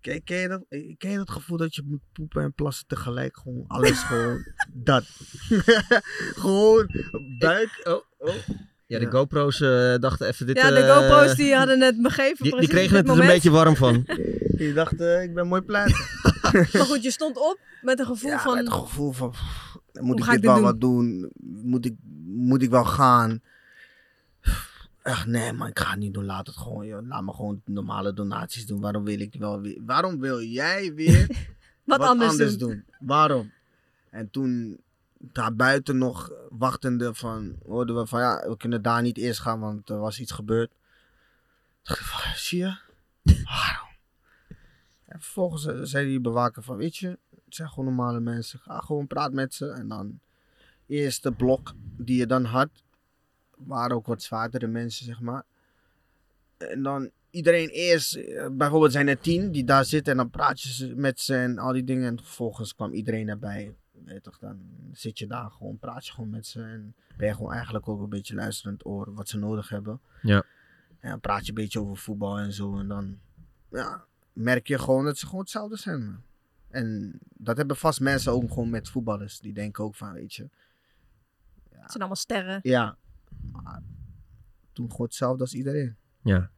Speaker 5: Ken, ken, je dat, eh, ken je dat gevoel dat je moet poepen en plassen tegelijk? Gewoon
Speaker 4: *laughs*
Speaker 5: alles gewoon dat. *laughs* gewoon buik. Oh, oh.
Speaker 1: Ja, de
Speaker 5: Ja.
Speaker 1: GoPro's eh, dachten even dit...
Speaker 4: ja, de
Speaker 1: eh,
Speaker 4: GoPro's die hadden het begeven.
Speaker 1: Die, die
Speaker 4: precies
Speaker 1: kregen
Speaker 4: op
Speaker 1: het er
Speaker 4: dit
Speaker 1: een
Speaker 4: moment.
Speaker 1: beetje warm van.
Speaker 4: *laughs*
Speaker 5: Je dacht, eh, ik ben mooi plaatsen.
Speaker 4: Maar goed, je stond op met een gevoel
Speaker 5: Ja,
Speaker 4: van...
Speaker 5: het gevoel van, pff, moet ik
Speaker 4: ga ik dit
Speaker 5: dit wel
Speaker 4: doen?
Speaker 5: wat doen? Moet ik, moet ik wel gaan? Echt, nee, maar ik ga het niet doen. Laat het gewoon, joh. Laat me gewoon normale donaties doen. Waarom wil ik wel weer? Waarom wil jij weer
Speaker 4: Wat, anders, doen.
Speaker 5: Waarom? En toen daarbuiten nog wachtende van, hoorden we van ja, we kunnen daar niet eerst gaan, want er was iets gebeurd. Dacht ik van, zie je? Waarom? En vervolgens eh, zei die bewaker van, weet je, het zijn gewoon normale mensen. Ga gewoon praat met ze. En dan, eerste blok die je dan had, waren ook wat zwaardere mensen, zeg maar. En dan iedereen eerst, eh, bijvoorbeeld zijn er tien die daar zitten en dan praat je ze- met ze en al die dingen. En vervolgens kwam iedereen erbij. Weet je toch, dan zit je daar gewoon, praat je gewoon met ze en ben je gewoon eigenlijk ook een beetje luisterend oor wat ze nodig hebben.
Speaker 1: Ja.
Speaker 5: En dan praat je een beetje over voetbal en zo en dan ja, merk je gewoon dat ze gewoon hetzelfde zijn. man. En dat hebben vast mensen ook gewoon met voetballers. Die denken ook van, weet je,
Speaker 4: Het zijn allemaal sterren.
Speaker 5: ja, maar doen gewoon hetzelfde als iedereen.
Speaker 1: Ja.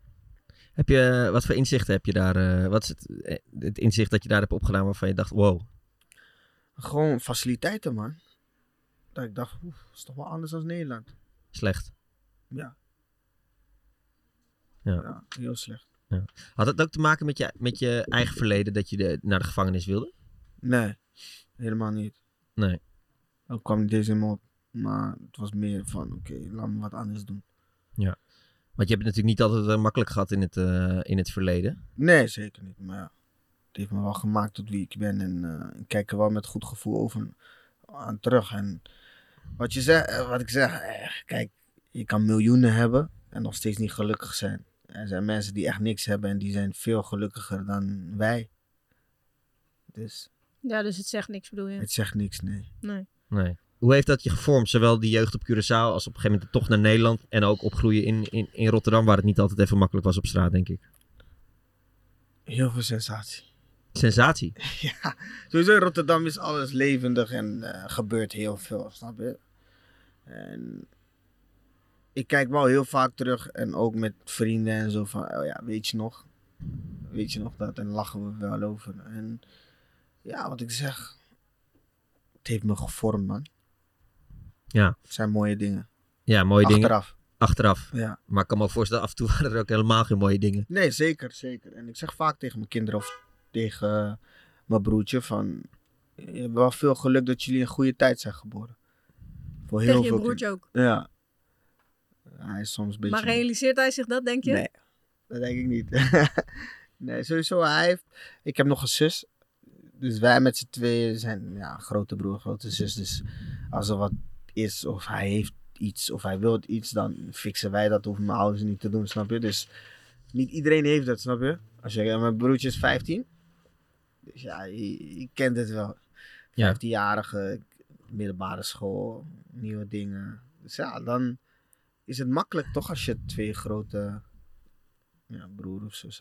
Speaker 1: Heb je, eh, wat voor inzichten heb je daar? eh, wat is het, eh, het inzicht dat je daar hebt opgedaan waarvan je dacht, wow.
Speaker 5: Gewoon faciliteiten, man. Dat ik dacht, oef, is toch wel anders dan Nederland.
Speaker 1: Slecht.
Speaker 5: Ja, heel slecht.
Speaker 1: Had dat ook te maken met je, met je eigen verleden dat je de, naar de gevangenis wilde?
Speaker 5: Nee, helemaal niet.
Speaker 1: Nee.
Speaker 5: Ook kwam niet eens in me op. Maar het was meer van, oké, laat me wat anders doen.
Speaker 1: Want je hebt het natuurlijk niet altijd eh, makkelijk gehad in het, eh, in het verleden.
Speaker 5: Nee, zeker niet. Maar ja, het heeft me wel gemaakt tot wie ik ben. En eh, ik kijk er wel met goed gevoel over aan terug. En wat, je zegt, eh, wat ik zeg, eh, kijk, je kan miljoenen hebben en nog steeds niet gelukkig zijn. Er zijn mensen die echt niks hebben en die zijn veel gelukkiger dan wij. Dus
Speaker 4: Ja, dus het zegt niks bedoel je.
Speaker 5: het zegt niks, nee.
Speaker 1: Nee. Hoe heeft dat je gevormd? Zowel die jeugd op Curaçao als op een gegeven moment de tocht naar Nederland. En ook opgroeien in, in, in Rotterdam, waar het niet altijd even makkelijk was op straat, denk ik.
Speaker 5: Heel veel sensatie.
Speaker 1: Sensatie.
Speaker 5: Ja, sowieso in Rotterdam is alles levendig en eh, gebeurt heel veel, snap je? En ik kijk wel heel vaak terug en ook met vrienden en zo van, oh ja, weet je nog? Weet je nog dat? En lachen we wel over. En ja, wat ik zeg, het heeft me gevormd, man.
Speaker 1: Ja.
Speaker 5: Het zijn mooie dingen.
Speaker 1: Ja, mooie dingen.
Speaker 5: Achteraf.
Speaker 1: Achteraf.
Speaker 5: Ja.
Speaker 1: Maar ik kan me ook voorstellen, af en toe *laughs* waren er ook helemaal geen mooie dingen.
Speaker 5: Nee, zeker, zeker. En ik zeg vaak tegen mijn kinderen of tegen eh, mijn broertje van... Je hebt wel veel geluk dat jullie in goede tijd zijn geboren. Voor heel
Speaker 4: Tegen je
Speaker 5: veel
Speaker 4: broertje ook.
Speaker 5: kinderen. Ja. Hij is soms een beetje...
Speaker 4: Maar realiseert hij zich dat, denk je?
Speaker 5: Nee, dat denk ik niet. *laughs* nee, sowieso. Hij heeft... Ik heb nog een zus. Dus wij met z'n tweeën zijn ja, grote broer, grote zus. Dus als er wat is of hij heeft iets of hij wil iets, dan fixen wij dat. Hoeven mijn ouders niet te doen, snap je? Dus niet iedereen heeft dat, snap je? Als je, mijn broertje is 15. Dus ja, je, je kent het wel.
Speaker 1: Ja.
Speaker 5: 15-jarige, middelbare school, nieuwe dingen. Dus ja, dan is het makkelijk toch als je twee grote ja, broer of zus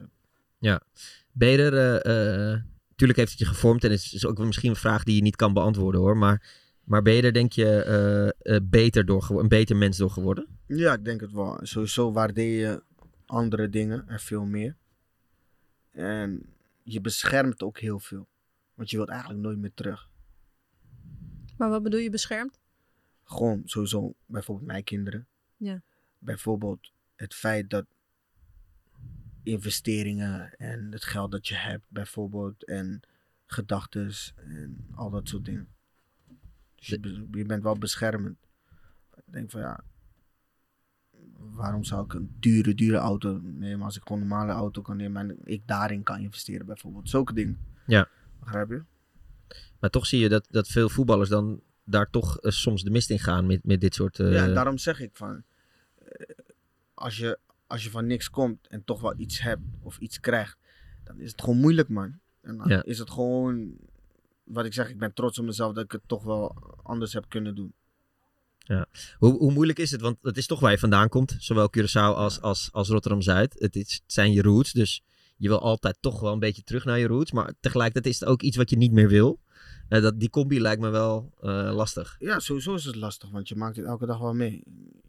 Speaker 5: hebt.
Speaker 1: Beder, eh, eh, tuurlijk heeft het je gevormd en is, is ook misschien een vraag die je niet kan beantwoorden hoor. Maar, maar Beder, denk je, eh, eh, beter door, gewo- een beter mens door geworden?
Speaker 5: Ja, ik denk het wel. Sowieso waardeer je andere dingen en veel meer. En je beschermt ook heel veel. Want je wilt eigenlijk nooit meer terug.
Speaker 4: Maar wat bedoel je beschermd?
Speaker 5: Gewoon sowieso bijvoorbeeld mijn kinderen.
Speaker 4: Ja.
Speaker 5: Bijvoorbeeld het feit dat investeringen en het geld dat je hebt bijvoorbeeld en gedachten en al dat soort dingen. Dus je, be- je bent wel beschermend. Ik denk van ja, waarom zou ik een dure, dure auto nemen als ik gewoon een normale auto kan nemen en ik daarin kan investeren bijvoorbeeld. Zulke dingen.
Speaker 1: Ja.
Speaker 5: Begrijp je?
Speaker 1: Maar toch zie je dat, dat veel voetballers dan daar toch eh, soms de mist in gaan met, met dit soort... eh,
Speaker 5: Ja, en daarom zeg ik van, eh, als, je, als je van niks komt en toch wel iets hebt of iets krijgt, dan is het gewoon moeilijk, man. En dan
Speaker 1: Ja.
Speaker 5: is het gewoon, wat ik zeg, ik ben trots op mezelf dat ik het toch wel anders heb kunnen doen.
Speaker 1: Hoe, hoe moeilijk is het? Want het is toch waar je vandaan komt. Zowel Curaçao als, als, als Rotterdam-Zuid. Het, is- het zijn je roots. Dus je wil altijd toch wel een beetje terug naar je roots. Maar tegelijkertijd is het ook iets wat je niet meer wil. Eh, dat, die combi lijkt me wel eh, lastig.
Speaker 5: Ja, sowieso is het lastig, want je maakt het elke dag wel mee.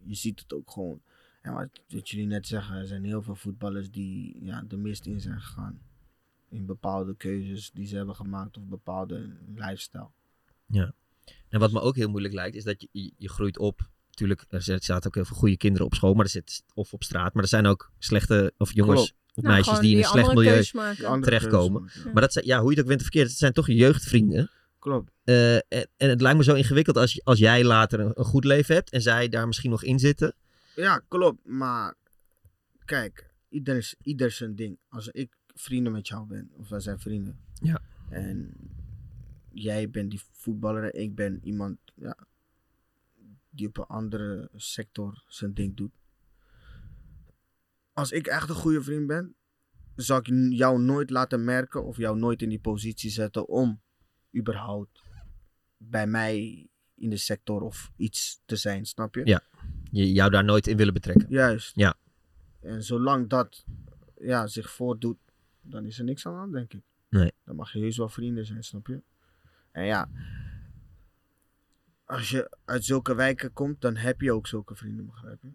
Speaker 5: Je ziet het ook gewoon. En wat, wat jullie net zeggen, er zijn heel veel voetballers die ja, de mist in zijn gegaan. In bepaalde keuzes die ze hebben gemaakt of bepaalde lifestyle.
Speaker 1: En wat me ook heel moeilijk lijkt, is dat je, je, je groeit op. Tuurlijk, er zit- zaten ook heel veel goede kinderen op school. Maar er zit, of op straat. Maar er zijn ook slechte of jongens
Speaker 5: Klopt.
Speaker 1: of
Speaker 4: Nou,
Speaker 1: meisjes
Speaker 4: gewoon
Speaker 1: die in een
Speaker 4: andere
Speaker 1: slecht milieu...
Speaker 4: keus maken.
Speaker 5: Die andere keuzes
Speaker 1: Terechtkomen.
Speaker 5: maken, ja.
Speaker 1: Maar dat zijn, ja, hoe je het ook bent verkeerd, het zijn toch je jeugdvrienden.
Speaker 5: Klopt.
Speaker 1: Eh, en, en het lijkt me zo ingewikkeld als, je- als jij later een, een goed leven hebt en zij daar misschien nog in zitten.
Speaker 5: Ja, klopt. Maar kijk, ieder, is, ieder zijn ding. Als ik vrienden met jou ben, of wij zijn vrienden.
Speaker 1: Ja.
Speaker 5: En jij bent die voetballer en ik ben iemand ja, die op een andere sector zijn ding doet. Als ik echt een goede vriend ben, zal ik n- jou nooit laten merken of jou nooit in die positie zetten om überhaupt bij mij in de sector of iets te zijn, snap je?
Speaker 1: Je, jou daar nooit in willen betrekken.
Speaker 5: Juist.
Speaker 1: Ja.
Speaker 5: En zolang dat ja, zich voordoet, dan is er niks aan de hand, denk ik.
Speaker 1: Nee.
Speaker 5: Dan mag je heus wel vrienden zijn, snap je? En ja, als je uit zulke wijken komt, dan heb je ook zulke vrienden, begrijp je?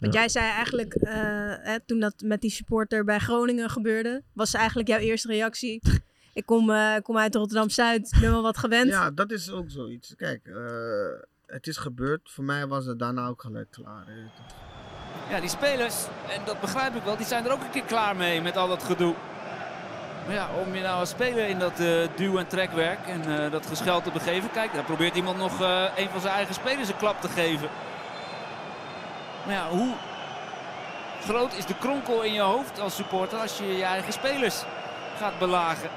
Speaker 4: Want jij zei eigenlijk, eh, hè, toen dat met die supporter bij Groningen gebeurde, was eigenlijk jouw eerste reactie.
Speaker 5: *laughs*
Speaker 4: Ik kom, eh, ik kom uit Rotterdam-Zuid, ik ben wel wat gewend.
Speaker 5: Ja, dat is ook zoiets. Kijk, eh, het is gebeurd. Voor mij was het daarna ook gelijk klaar. weet je toch.
Speaker 9: Ja, die spelers, en dat begrijp ik wel, die zijn er ook een keer klaar mee met al dat gedoe. Maar ja, om je nou als speler in dat eh duw- en trekwerk en eh, dat geschel te begeven, kijk, daar probeert iemand nog eh, een van zijn eigen spelers een klap te geven. Maar ja, hoe groot is de kronkel in je hoofd als supporter als je je eigen spelers gaat belagen?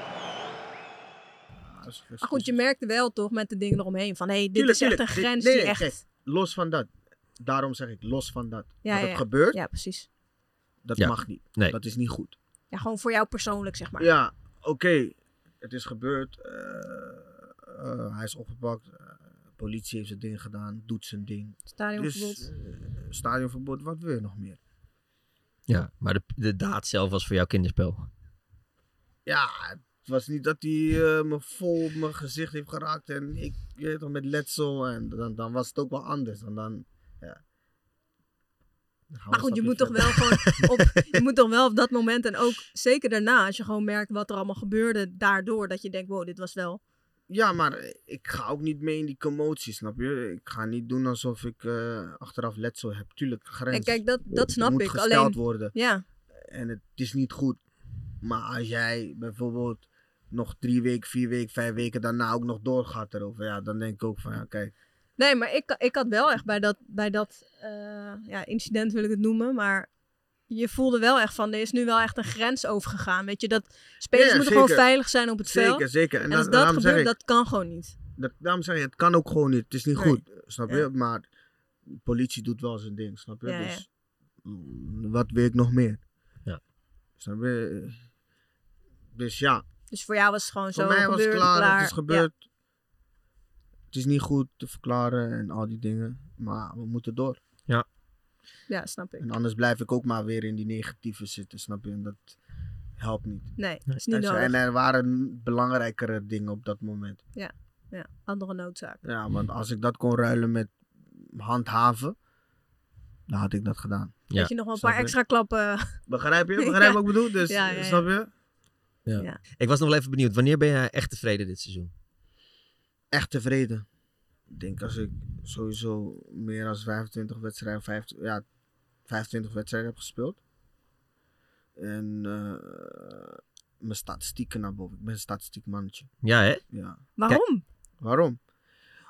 Speaker 5: Ja, dat is
Speaker 4: Maar Ah, goed, je
Speaker 5: frustrerend.
Speaker 4: merkte wel toch met de dingen eromheen van, hé, hey, dit
Speaker 5: Tuurlijk,
Speaker 4: is echt
Speaker 5: tuurlijk.
Speaker 4: een grens
Speaker 5: Nee,
Speaker 4: die
Speaker 5: nee,
Speaker 4: echt...
Speaker 5: kijk, los van dat. Daarom zeg ik, los van dat.
Speaker 4: Ja,
Speaker 5: Wat
Speaker 4: ja,
Speaker 5: er
Speaker 4: ja.
Speaker 5: gebeurt,
Speaker 4: Ja, precies.
Speaker 5: dat
Speaker 1: Ja.
Speaker 5: mag niet.
Speaker 1: Nee.
Speaker 5: Dat is niet goed.
Speaker 4: Ja, gewoon voor jou persoonlijk, zeg maar.
Speaker 5: Ja, oké. Het is gebeurd. Eh, eh, hij is opgepakt. Eh, politie heeft zijn ding gedaan. Doet zijn ding.
Speaker 4: Stadionverbod.
Speaker 5: Dus eh, stadionverbod, wat wil je nog meer?
Speaker 1: Ja, maar de, de daad zelf was voor jou kinderspel.
Speaker 5: Ja, het was niet dat hij eh, me vol op mijn gezicht heeft geraakt. En ik, je weet toch, met letsel. En dan, dan was het ook wel anders. En dan, ja. Dan gaan we
Speaker 4: Maar
Speaker 5: een
Speaker 4: goed, je
Speaker 5: stapje
Speaker 4: moet toch
Speaker 5: verder.
Speaker 4: wel gewoon
Speaker 5: *laughs*
Speaker 4: op, je moet toch wel op dat moment en ook zeker daarna, als je gewoon merkt wat er allemaal gebeurde daardoor, dat je denkt, wow, dit was wel...
Speaker 5: Ja, maar ik ga ook niet mee in die commotie, snap je? Ik ga niet doen alsof ik eh, achteraf letsel heb. Tuurlijk, grens.
Speaker 4: En kijk, dat, dat snap
Speaker 5: dus moet
Speaker 4: ik.
Speaker 5: gesteld
Speaker 4: Alleen,
Speaker 5: worden.
Speaker 4: ja,
Speaker 5: en het is niet goed. Maar als jij bijvoorbeeld nog drie weken, vier weken, vijf weken daarna ook nog doorgaat erover, ja, dan denk ik ook van ja, kijk.
Speaker 4: Nee, maar ik, ik had wel echt bij dat, bij dat eh, ja, incident wil ik het noemen, maar je voelde wel echt van, er is nu wel echt een grens overgegaan. Weet je, dat spelers
Speaker 5: Ja,
Speaker 4: moeten
Speaker 5: zeker.
Speaker 4: gewoon veilig zijn op het veld.
Speaker 5: Zeker, zeker.
Speaker 4: En,
Speaker 5: En,
Speaker 4: als
Speaker 5: dan
Speaker 4: dat
Speaker 5: daarom, zeg
Speaker 4: gebeurt,
Speaker 5: ik,
Speaker 4: dat kan gewoon niet.
Speaker 5: dat, daarom zeg ik, het kan ook gewoon niet. Het is niet
Speaker 4: Nee.
Speaker 5: goed, snap
Speaker 4: Ja.
Speaker 5: je? Maar de politie doet wel zijn ding, snap je?
Speaker 4: Ja, ja.
Speaker 5: dus mm, wat wil ik nog meer?
Speaker 1: Ja.
Speaker 5: Snap je? Dus ja,
Speaker 4: Dus voor jou was het gewoon
Speaker 5: voor
Speaker 4: zo
Speaker 5: mij was het
Speaker 4: gebeurd,
Speaker 5: klaar, het is
Speaker 4: Ja.
Speaker 5: gebeurd. Het is niet goed te verklaren en al die dingen, maar we moeten door.
Speaker 4: Ja, snap ik.
Speaker 5: En anders blijf ik ook maar weer in die negatieve zitten, snap je? En dat helpt niet.
Speaker 4: Nee, is niet
Speaker 5: En zo-
Speaker 4: nodig.
Speaker 5: en er waren belangrijkere dingen op dat moment.
Speaker 4: Ja, andere noodzaak.
Speaker 5: Ja, want als ik dat kon ruilen met handhaven, dan had ik dat gedaan.
Speaker 1: Ja,
Speaker 4: dat je nog wel een
Speaker 5: snap
Speaker 4: paar
Speaker 5: ik.
Speaker 4: extra klappen... *laughs*
Speaker 5: Begrijp je?
Speaker 4: Ja.
Speaker 5: Begrijp wat ik bedoel? Dus,
Speaker 4: Ja, ja, ja.
Speaker 5: snap je?
Speaker 1: Ik was nog wel even benieuwd, wanneer ben jij echt tevreden dit seizoen?
Speaker 5: Echt tevreden. Ik denk als ik sowieso meer dan 25 wedstrijden, 50, ja, 25 wedstrijden heb gespeeld. En eh, mijn statistieken naar boven. Ik ben een statistiek mannetje.
Speaker 1: Ja, hè?
Speaker 5: Ja.
Speaker 4: Waarom?
Speaker 5: Waarom?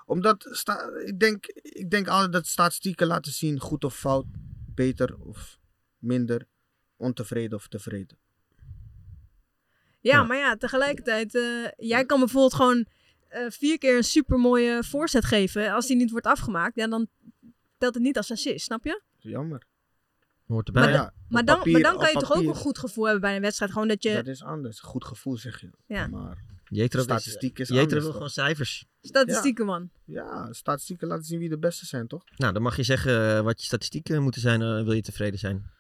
Speaker 5: Omdat sta, ik, denk, ik denk altijd dat statistieken laten zien goed of fout, beter of minder, ontevreden of tevreden.
Speaker 4: Ja,
Speaker 1: Ja.
Speaker 4: maar ja, tegelijkertijd... eh, jij kan bijvoorbeeld gewoon eh, vier keer een supermooie voorzet geven. Als die niet wordt afgemaakt, ja, dan telt het niet als assist, snap je?
Speaker 5: Jammer.
Speaker 1: Hoort erbij.
Speaker 4: Maar
Speaker 1: Nou ja.
Speaker 5: ja, op
Speaker 4: Maar dan,
Speaker 5: papier-
Speaker 4: maar dan
Speaker 5: op
Speaker 4: kan je toch ook
Speaker 5: papier,
Speaker 4: een goed gevoel hebben bij een wedstrijd. Gewoon dat je...
Speaker 5: Dat is anders. Goed gevoel zeg je.
Speaker 4: Ja.
Speaker 5: Maar
Speaker 1: Je eet er ook,
Speaker 5: statistiek is
Speaker 1: je eet er
Speaker 5: anders.
Speaker 1: ook
Speaker 5: toch?
Speaker 1: gewoon cijfers.
Speaker 4: Statistieken, man.
Speaker 5: Ja, statistieken laten zien wie de beste zijn, toch?
Speaker 1: Nou, dan mag je zeggen eh, wat je statistieken moeten zijn, eh, wil je tevreden zijn.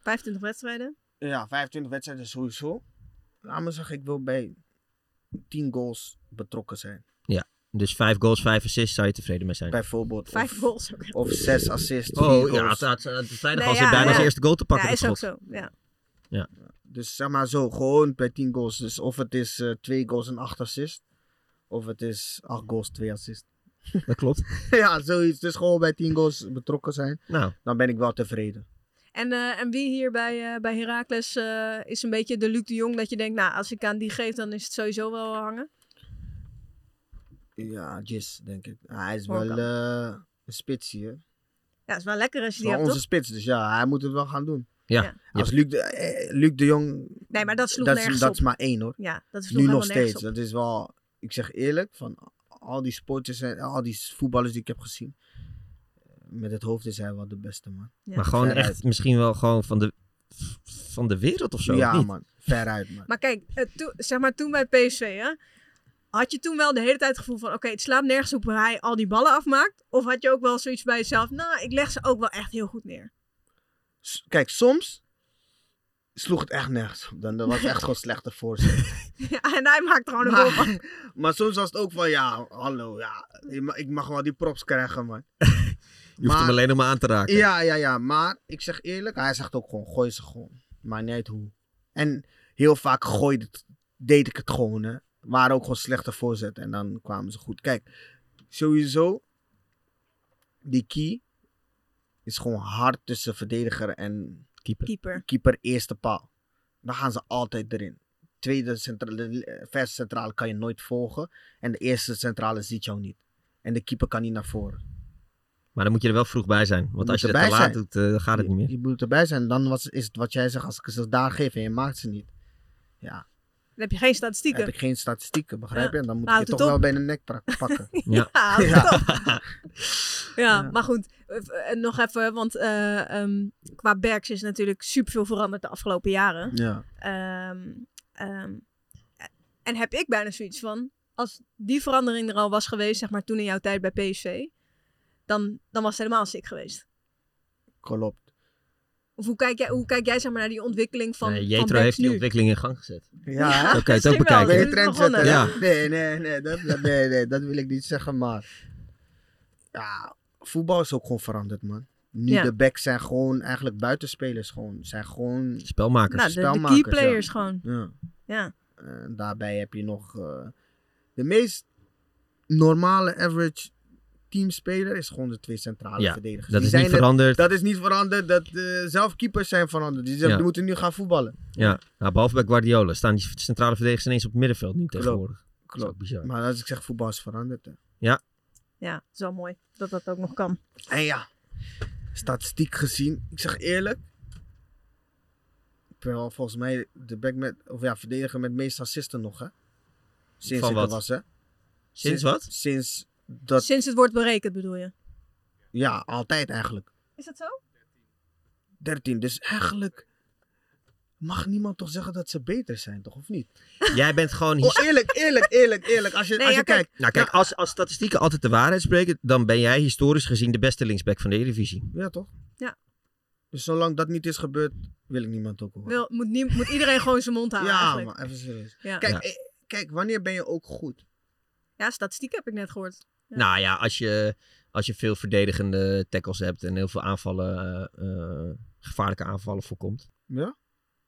Speaker 4: 25 wedstrijden.
Speaker 5: Ja, 25 wedstrijden sowieso. Laat me zeggen, ik wil bij 10 goals betrokken zijn.
Speaker 1: Dus vijf goals, vijf assists, zou je tevreden mee zijn.
Speaker 5: Bijvoorbeeld.
Speaker 4: Vijf
Speaker 5: of,
Speaker 4: goals. ook.
Speaker 5: Of 6 assists.
Speaker 1: Oh,
Speaker 5: vier
Speaker 1: ja,
Speaker 5: goals.
Speaker 1: het had- het vrijdag
Speaker 4: Nee,
Speaker 1: was
Speaker 4: ja,
Speaker 1: het bijna
Speaker 4: ja.
Speaker 1: zijn eerste goal te pakken.
Speaker 4: Ja,
Speaker 1: dat
Speaker 4: is ook
Speaker 1: schot.
Speaker 4: zo. Ja.
Speaker 5: Dus zeg maar zo, gewoon bij 10 goals. Dus of het is eh 2 goals en 8 assists. Of het is 8 goals, 2 assists. *laughs*
Speaker 1: Dat klopt.
Speaker 5: ja, zoiets. Dus gewoon bij 10 goals betrokken zijn.
Speaker 1: Nou,
Speaker 5: Dan ben ik wel tevreden.
Speaker 4: En, eh, en wie hier bij, eh, bij Heracles eh, is een beetje de Luc de Jong dat je denkt, nou, als ik aan die geef, dan is het sowieso wel eh, hangen.
Speaker 5: Ja, Jis, denk ik. Hij is
Speaker 4: Hoor ik
Speaker 5: wel eh, een spits hier.
Speaker 4: Ja, is wel lekker als je
Speaker 5: Het
Speaker 4: die
Speaker 5: is wel
Speaker 4: hebt,
Speaker 5: onze
Speaker 4: toch?
Speaker 5: spits, dus ja, hij moet het wel gaan doen.
Speaker 1: ja.
Speaker 4: Ja.
Speaker 1: Je
Speaker 5: Als Luc de, eh, Luc de Jong...
Speaker 4: Nee, maar dat sloeg
Speaker 5: dat is,
Speaker 4: nergens
Speaker 5: dat
Speaker 4: op.
Speaker 5: is maar één hoor.
Speaker 4: Ja, dat is
Speaker 5: Nu nog
Speaker 4: nergens
Speaker 5: steeds.
Speaker 4: op.
Speaker 5: Dat is wel... Ik zeg eerlijk, van al die sporters en al die voetballers die ik heb gezien... eh, Met het hoofd is hij wel de beste, man.
Speaker 4: Ja.
Speaker 1: Maar gewoon
Speaker 5: Veruit.
Speaker 1: echt misschien wel gewoon van de, van de wereld of zo. of
Speaker 5: ja,
Speaker 1: niet?
Speaker 5: man. Veruit, man.
Speaker 4: Maar kijk, eh, toe- zeg maar toen bij PSV, hè, had je toen wel de hele tijd het gevoel van, oké, het slaat nergens op hoe hij al die ballen afmaakt? Of had je ook wel zoiets bij jezelf, nou, ik leg ze ook wel echt heel goed neer? *laughs*
Speaker 5: S- Kijk, soms sloeg het echt nergens op. Dan dat was echt gewoon slechte voorzet.
Speaker 4: Ja, en hij maakt er gewoon een goal van.
Speaker 5: Maar, *laughs* maar soms was het ook van, ja, hallo, ja, je ma- ik mag wel die props krijgen, man.
Speaker 1: *laughs* Je hoeft hem alleen nog maar aan te raken.
Speaker 5: Ja, ja, ja. Maar ik zeg eerlijk, hij zegt ook gewoon, gooi ze gewoon. Maar niet uit hoe. En heel vaak gooide het, deed ik het gewoon, hè. Waren ook gewoon slechte voorzetten en dan kwamen ze goed. Kijk, sowieso, die key is gewoon hard tussen verdediger en
Speaker 1: Keeper.
Speaker 4: Keeper.
Speaker 5: keeper eerste paal. Dan gaan ze altijd erin. Tweede centrale, eh, verse centrale kan je nooit volgen. En de eerste centrale ziet jou niet. En de keeper kan niet naar voren.
Speaker 1: Maar dan moet je er wel vroeg bij zijn. Want
Speaker 5: moet
Speaker 1: als je dat
Speaker 5: erbij
Speaker 1: te laat
Speaker 5: zijn.
Speaker 1: doet, eh, dan gaat het niet
Speaker 5: Je-
Speaker 1: meer.
Speaker 5: Je moet erbij zijn. Dan was, is het wat jij zegt. Als ik ze daar geef en je maakt ze niet. Ja,
Speaker 4: Dan heb je geen
Speaker 5: dan
Speaker 4: statistieken. *laughs*
Speaker 5: heb ik geen statistieken. Begrijp je? En dan moet
Speaker 4: Nou,
Speaker 5: ik je
Speaker 4: houdt het
Speaker 5: toch wel bij de nek pra- *laughs* pakken.
Speaker 1: Ja.
Speaker 4: Ja, houd het op. Ah, ja,
Speaker 5: Ja.
Speaker 4: maar goed. eh, eh, Nog even, want eh, ehm, qua Berks is natuurlijk superveel veranderd de afgelopen jaren.
Speaker 5: ja.
Speaker 4: Ehm, ehm, eh, en heb ik bijna zoiets van, als die verandering er al was geweest, zeg maar toen in jouw tijd bij PSV, dan, dan was het helemaal sick geweest.
Speaker 5: Klopt.
Speaker 4: Of hoe kijk jij, hoe kijk jij zeg maar, naar die ontwikkeling van,
Speaker 1: Nee,
Speaker 4: van
Speaker 1: Eh, Jetro
Speaker 4: Berks
Speaker 1: heeft die
Speaker 4: nu?
Speaker 1: ontwikkeling in gang gezet.
Speaker 5: Ja, hè?
Speaker 1: Oké, het ook
Speaker 4: misschien
Speaker 1: bekijken.
Speaker 4: wel.
Speaker 5: Ben je
Speaker 4: Toen is het
Speaker 5: trendsetter?
Speaker 1: begonnen.
Speaker 5: hè? Nee, nee, nee dat, dat- nee, nee, dat wil ik niet zeggen, maar... Ja, voetbal is ook gewoon veranderd, man. Nu
Speaker 4: Ja.
Speaker 5: de backs zijn gewoon eigenlijk buitenspelers. Gewoon, zijn gewoon...
Speaker 1: Spelmakers.
Speaker 4: Nou, de- de,
Speaker 5: spelmakers,
Speaker 4: key
Speaker 5: ja.
Speaker 4: players gewoon.
Speaker 5: Ja.
Speaker 4: Ja.
Speaker 5: En Eh, daarbij heb je nog... eh, de meest normale average teamspeler is gewoon de twee centrale
Speaker 1: Ja,
Speaker 5: verdedigers.
Speaker 1: dat
Speaker 5: Die
Speaker 1: is niet
Speaker 5: zijn het-
Speaker 1: veranderd.
Speaker 5: dat is niet veranderd. Dat eh, zelf keepers zijn veranderd. Die, zijn-
Speaker 1: Ja.
Speaker 5: die moeten nu gaan voetballen.
Speaker 1: Ja. Nou, behalve bij Guardiola staan die centrale verdedigers ineens op het middenveld nu tegenwoordig. Dat is ook
Speaker 5: Klopt.
Speaker 1: bizar.
Speaker 5: Maar als ik zeg voetbal is veranderd. hè.
Speaker 4: ja, het is wel mooi dat dat ook nog kan.
Speaker 5: En ja, statistiek gezien, ik zeg eerlijk. Ik ben wel volgens mij de back met, of ja, verdediger met meest assisten nog, hè? Sinds
Speaker 1: Van
Speaker 5: ik er
Speaker 1: wat?
Speaker 5: was, hè?
Speaker 1: Sinds wat?
Speaker 5: Sinds dat,
Speaker 4: Sinds het wordt berekend bedoel je?
Speaker 5: ja, altijd eigenlijk.
Speaker 4: Is dat zo?
Speaker 5: 13, dus eigenlijk mag niemand toch zeggen dat ze beter zijn, toch? Of niet?
Speaker 1: Jij bent gewoon...
Speaker 5: Oh, eerlijk, eerlijk, eerlijk, eerlijk. Als je,
Speaker 4: Nee,
Speaker 5: als
Speaker 4: ja,
Speaker 5: je
Speaker 4: kijk.
Speaker 5: kijkt.
Speaker 1: Nou kijk, als, als statistieken altijd de waarheid spreken, dan ben jij historisch gezien de beste linksback van de Eredivisie.
Speaker 5: Ja, toch?
Speaker 4: Ja.
Speaker 5: Dus zolang dat niet is gebeurd, wil ik niemand ook horen.
Speaker 4: Wil, moet, nie- moet iedereen gewoon zijn mond houden
Speaker 5: ja,
Speaker 4: eigenlijk.
Speaker 5: maar even serieus.
Speaker 4: Ja.
Speaker 5: Kijk,
Speaker 1: Ja.
Speaker 5: eh, kijk, wanneer ben je ook goed?
Speaker 4: Ja, statistiek heb ik net gehoord. Ja.
Speaker 1: Nou ja, als je, als je veel verdedigende tackles hebt en heel veel aanvallen, eh, eh, gevaarlijke aanvallen voorkomt.
Speaker 5: Ja?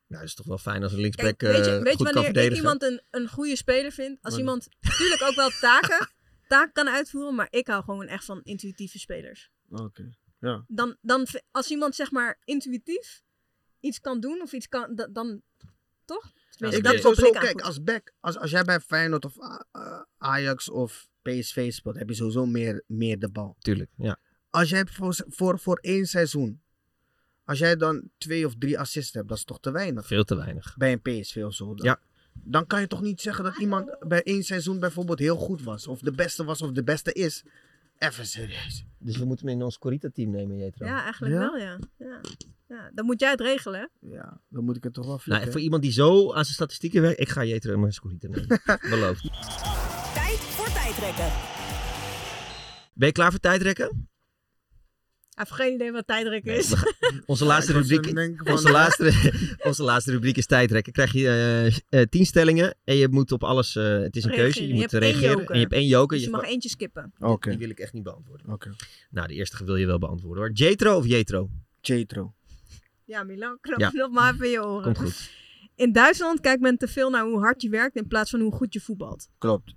Speaker 1: Nou, dat is toch wel fijn als een
Speaker 4: Kijk,
Speaker 1: linksback
Speaker 4: weet
Speaker 1: eh,
Speaker 4: je, weet je
Speaker 1: goed kan
Speaker 4: wanneer ik
Speaker 1: verdedigen.
Speaker 4: iemand een, een goede speler vind? Als
Speaker 5: Wanneer?
Speaker 4: iemand natuurlijk ook wel taken, taken kan uitvoeren, maar ik hou gewoon echt van intuïtieve spelers.
Speaker 5: Oké.
Speaker 4: Dan, dan v- als iemand zeg maar intuïtief iets kan doen of iets kan, da- dan toch? Tenminste,
Speaker 5: ik
Speaker 4: dat
Speaker 5: denk
Speaker 4: koppel
Speaker 5: sowieso,
Speaker 4: ik aan
Speaker 5: kijk,
Speaker 4: goed.
Speaker 5: als back, als, als jij bij Feyenoord of A- eh, Ajax of PSV speelt, heb je sowieso meer, meer de bal.
Speaker 1: Tuurlijk, ja.
Speaker 5: Als jij voor, voor, voor één seizoen, als jij dan twee of drie assists hebt, dat is toch te weinig
Speaker 1: Veel te weinig.
Speaker 5: bij een PSV of zo. Dan,
Speaker 1: Ja.
Speaker 5: dan kan je toch niet zeggen dat iemand bij één seizoen bijvoorbeeld heel goed was, of de beste was of de beste is. Even serieus.
Speaker 1: Dus we moeten hem in ons Corita-team nemen, Jetro.
Speaker 4: Ja, eigenlijk
Speaker 5: Ja?
Speaker 4: wel, ja. ja. ja. Dan moet jij het regelen, hè?
Speaker 5: Ja, dan moet ik het toch wel
Speaker 1: Nou, en
Speaker 5: flikken.
Speaker 1: voor iemand die zo aan zijn statistieken werkt, ik ga Jetro in mijn Corita
Speaker 4: *laughs*
Speaker 1: nemen. Beloofd.
Speaker 3: Tijd voor tijdrekken.
Speaker 1: Ben je klaar voor tijdrekken?
Speaker 4: Hij heeft geen idee wat tijdrek
Speaker 1: Nee,
Speaker 4: is.
Speaker 1: we gaan- onze
Speaker 4: *laughs*
Speaker 1: laatste rubriek Onze laatste, *laughs* onze laatste rubriek is tijdrekken. Krijg je eh, eh, tien stellingen en je moet op alles. eh, het is een
Speaker 4: Reageren.
Speaker 1: keuze. Je,
Speaker 4: Je
Speaker 1: moet
Speaker 4: hebt één
Speaker 1: reageren.
Speaker 4: joker.
Speaker 1: En je hebt één joker.
Speaker 4: dus je
Speaker 1: Je
Speaker 4: mag
Speaker 1: mag-
Speaker 4: eentje skippen.
Speaker 5: Oké,
Speaker 1: Die wil ik echt niet beantwoorden.
Speaker 5: oké.
Speaker 1: Nou, de eerste wil je wel beantwoorden hoor. Jetro of Jetro?
Speaker 5: Jetro.
Speaker 4: Ja, Milan, knop
Speaker 1: Ja.
Speaker 4: nog maar even in je oren.
Speaker 1: Komt
Speaker 4: *laughs*
Speaker 1: goed.
Speaker 4: In Duitsland kijkt men te veel naar hoe hard je werkt in plaats van hoe goed je voetbalt.
Speaker 5: Klopt.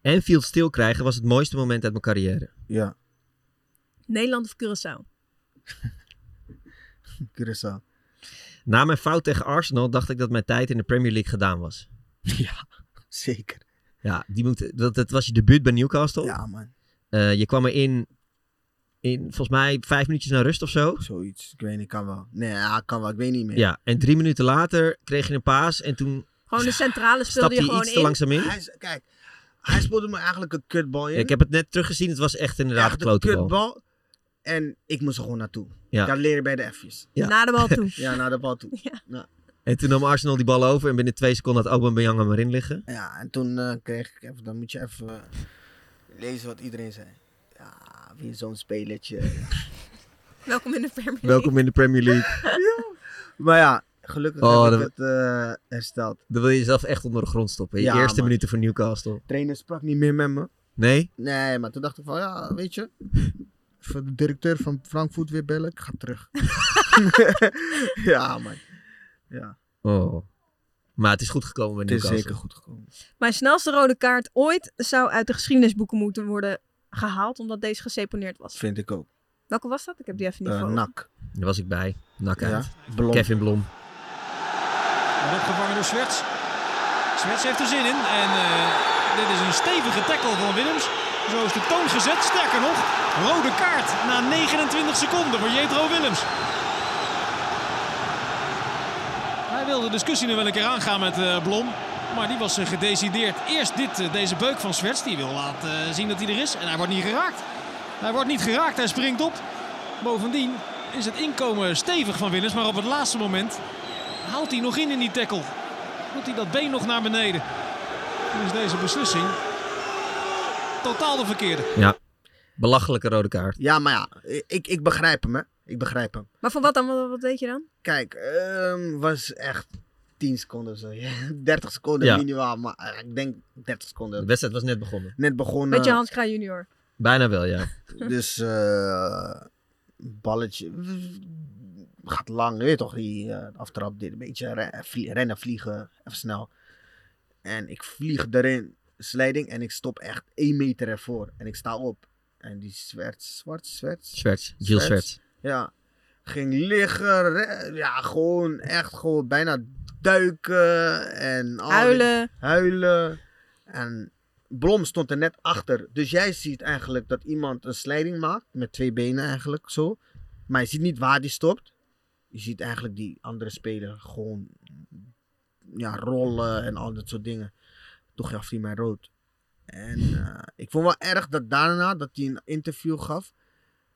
Speaker 1: Enfield stil krijgen was het mooiste moment uit mijn carrière.
Speaker 5: Ja, *laughs*
Speaker 4: Nederland of Curaçao?
Speaker 5: Curaçao.
Speaker 1: Na mijn fout tegen Arsenal dacht ik dat mijn tijd in de Premier League gedaan was.
Speaker 5: Ja, zeker.
Speaker 1: Ja, die moet, dat, dat was je debuut bij Newcastle.
Speaker 5: Ja, man.
Speaker 1: Eh, je kwam erin in volgens mij vijf minuutjes naar rust of zo.
Speaker 5: Zoiets. Ik weet niet, kan wel. Nee, ja, kan wel. Ik weet niet meer.
Speaker 1: Ja, en drie minuten later kreeg je een paas en toen
Speaker 4: Gewoon de centrale
Speaker 1: stapte
Speaker 4: speelde je
Speaker 1: je
Speaker 4: gewoon
Speaker 1: iets te
Speaker 4: in.
Speaker 1: langzaam in.
Speaker 5: Hij is, kijk, hij speelde me eigenlijk een kutbal in.
Speaker 1: Ja, ik heb het net teruggezien. Het was echt inderdaad
Speaker 5: Echt
Speaker 1: een klote bal.
Speaker 5: kutbal. En ik moest er gewoon naartoe.
Speaker 1: Ja.
Speaker 5: Daar leer je bij de F's.
Speaker 1: Ja.
Speaker 4: Naar de bal toe.
Speaker 5: Ja, naar de bal toe.
Speaker 1: En toen nam Arsenal die bal over. En binnen twee seconden had Aubameyang hem erin
Speaker 5: *laughs*
Speaker 1: liggen.
Speaker 5: Ja, en toen eh, kreeg ik even, dan moet je even eh, lezen wat iedereen zei. Ja, weer zo'n spelertje.
Speaker 4: *laughs* Welkom in de Premier League.
Speaker 1: Welkom in de Premier League.
Speaker 5: *laughs* maar ja, gelukkig
Speaker 1: Oh,
Speaker 5: heb ik
Speaker 1: dat-
Speaker 5: het eh, hersteld.
Speaker 1: Dan wil je jezelf echt onder de grond stoppen. Je
Speaker 5: Ja,
Speaker 1: eerste
Speaker 5: man.
Speaker 1: minuten voor Newcastle.
Speaker 5: Trainer sprak niet meer met me.
Speaker 1: Nee?
Speaker 5: Nee, maar toen dacht ik van, ja, weet je. Voor de directeur van Frankfurt weer bellen, ik ga *laughs* terug. ja, man. Ja,
Speaker 1: Oh. Maar het is goed gekomen bij
Speaker 5: het is
Speaker 1: Newcastle.
Speaker 5: zeker goed gekomen.
Speaker 4: Mijn snelste rode kaart ooit zou uit de geschiedenisboeken moeten worden gehaald, omdat deze geseponeerd was.
Speaker 5: Vind ik ook.
Speaker 4: Welke was dat? Ik heb die even niet
Speaker 5: Eh
Speaker 4: voor.
Speaker 1: nou.
Speaker 4: ogen.
Speaker 5: nak.
Speaker 1: Daar was ik bij. Nak
Speaker 5: Ja,
Speaker 1: uit.
Speaker 5: blond.
Speaker 1: Kevin Blom.
Speaker 9: Hij wordt gevangen door Swerts. Swerts heeft er zin in. En eh, dit is een stevige tackle van Willems. Zo is de toon gezet. Sterker nog, rode kaart na 29 seconden voor Jetro Willems. Hij wil de discussie nu wel een keer aangaan met eh, Blom. Maar die was eh, gedecideerd. Eerst dit, eh, deze beuk van Swerts. Die wil laten eh, zien dat hij er is. En hij wordt niet geraakt. Hij wordt niet geraakt. Hij springt op. Bovendien is het inkomen stevig van Willems. Maar op het laatste moment haalt hij nog in in die tackle. Moet hij dat been nog naar beneden. Dus deze beslissing totaal de verkeerde.
Speaker 1: Belachelijke rode kaart.
Speaker 5: Ja, maar ja, ik, ik begrijp hem, hè. Ik begrijp hem.
Speaker 4: Maar van wat dan? Wat, wat weet je dan?
Speaker 5: Kijk, ehm, was echt 10 seconden of zo. *laughs* Ja, 30 seconden
Speaker 1: Ja.
Speaker 5: minimaal, maar eh, ik denk 30
Speaker 1: De
Speaker 5: seconden.
Speaker 1: wedstrijd was net begonnen.
Speaker 5: Net
Speaker 1: Nou.
Speaker 5: begonnen,
Speaker 4: Beetje *laughs* Hans Kraaij junior.
Speaker 1: Bijna wel, ja.
Speaker 5: dus eh, balletje gaat lang. Je weet toch, die eh, aftrap, dit een beetje re- vlie- rennen, vliegen, even snel. En ik vlieg erin, slijding, en ik stop echt 1 meter ervoor. En ik sta op. En die zwart, zwart, zwart.
Speaker 1: Zwerts. Jill
Speaker 5: Zwerts.
Speaker 1: Zwerts.
Speaker 5: Ja. Ging liggen. re- Ja, gewoon echt gewoon bijna duiken. En
Speaker 1: Oh,
Speaker 5: al die-
Speaker 4: Huilen.
Speaker 5: huilen. En Blom stond er net achter. Dus jij ziet eigenlijk dat iemand een slijding maakt. Met twee benen eigenlijk zo. Maar je ziet niet waar die stopt. Je ziet eigenlijk die andere speler gewoon ja, rollen en al dat soort dingen. Toen gaf hij mij rood. En eh, ik vond wel erg dat daarna, dat hij een interview gaf,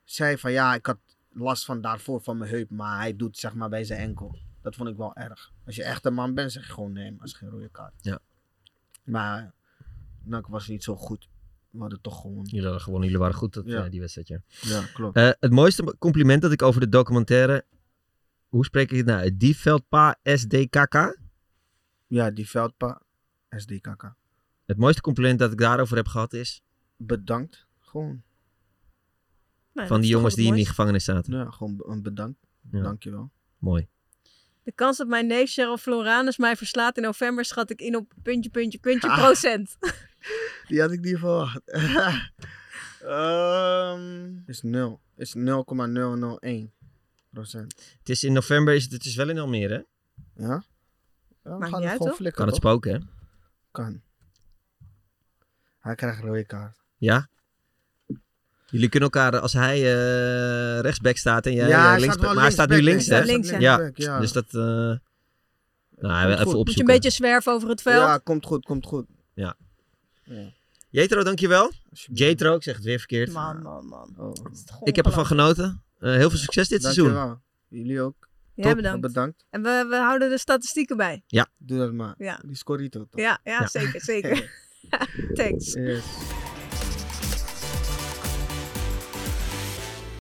Speaker 5: zei van ja, ik had last van daarvoor van mijn heup, maar hij doet zeg maar bij zijn enkel. Dat vond ik wel erg. Als je echt een man bent, zeg je gewoon nee, maar het is geen rode kaart.
Speaker 1: Ja.
Speaker 5: Maar Nak was niet zo goed. we hadden toch gewoon.
Speaker 1: Jullie hadden gewoon, jullie waren goed dat,
Speaker 5: Ja.
Speaker 1: eh, die wedstrijd, ja.
Speaker 5: Ja, klopt.
Speaker 1: Eh, het mooiste compliment dat ik over de documentaire... Hoe spreek ik het nou? uit? Dieveldpa SDKK?
Speaker 5: Ja, die veldpa, SDKK.
Speaker 1: Het mooiste compliment dat ik daarover heb gehad is...
Speaker 5: Bedankt. Gewoon.
Speaker 1: van
Speaker 4: Nou, dat
Speaker 1: die
Speaker 4: is toch
Speaker 1: jongens
Speaker 4: het
Speaker 1: die in die
Speaker 4: mooiste.
Speaker 1: gevangenis zaten.
Speaker 5: nou Ja, gewoon be- een bedankt.
Speaker 1: Ja.
Speaker 5: Dankjewel.
Speaker 1: Mooi.
Speaker 4: De kans dat mijn neef Cheryl Floranus mij verslaat in november schat ik in op puntje, puntje, puntje
Speaker 1: Ah. *laughs*
Speaker 4: procent.
Speaker 5: Die had ik niet verwacht. *laughs* Ehm, is 0. Is 0,001 procent.
Speaker 1: Het is in november, is het, het is wel in Almere. hè?
Speaker 5: Ja? ja we
Speaker 4: Maakt
Speaker 5: gaan
Speaker 4: niet uit,
Speaker 5: het gewoon
Speaker 4: toch?
Speaker 5: flikken.
Speaker 1: Kan het
Speaker 5: toch?
Speaker 1: spoken, hè?
Speaker 5: Kan. Hij krijgt een rode kaart.
Speaker 1: Ja? Jullie kunnen elkaar, als hij eh, rechtsback staat en jij eh,
Speaker 5: hij
Speaker 1: linksback.
Speaker 5: staat wel
Speaker 1: maar hij staat nu
Speaker 5: linksback,
Speaker 1: links,
Speaker 4: hè?
Speaker 1: hè?
Speaker 4: Hij staat
Speaker 1: ja.
Speaker 5: linksback, ja.
Speaker 1: Dus dat... eh, nou, even
Speaker 5: goed.
Speaker 1: opzoeken.
Speaker 4: Moet je een beetje zwerven over het veld.
Speaker 5: Ja, komt goed, komt goed.
Speaker 1: Jetro, dankjewel.
Speaker 5: Alsjeblieft.
Speaker 1: Jetro, ik zeg het weer verkeerd.
Speaker 4: Man, man, man.
Speaker 5: Oh,
Speaker 1: Ik heb ervan genoten. Eh, heel veel succes dit seizoen.
Speaker 5: Dankjewel. Jullie ook.
Speaker 4: Ja, bedankt.
Speaker 5: Bedankt.
Speaker 4: En we, we houden de statistieken bij.
Speaker 5: Doe dat maar.
Speaker 4: Ja.
Speaker 5: Die scorito toch?
Speaker 4: Ja, ja,
Speaker 1: Ja.
Speaker 4: zeker, zeker. *laughs* Thanks.
Speaker 5: Yes.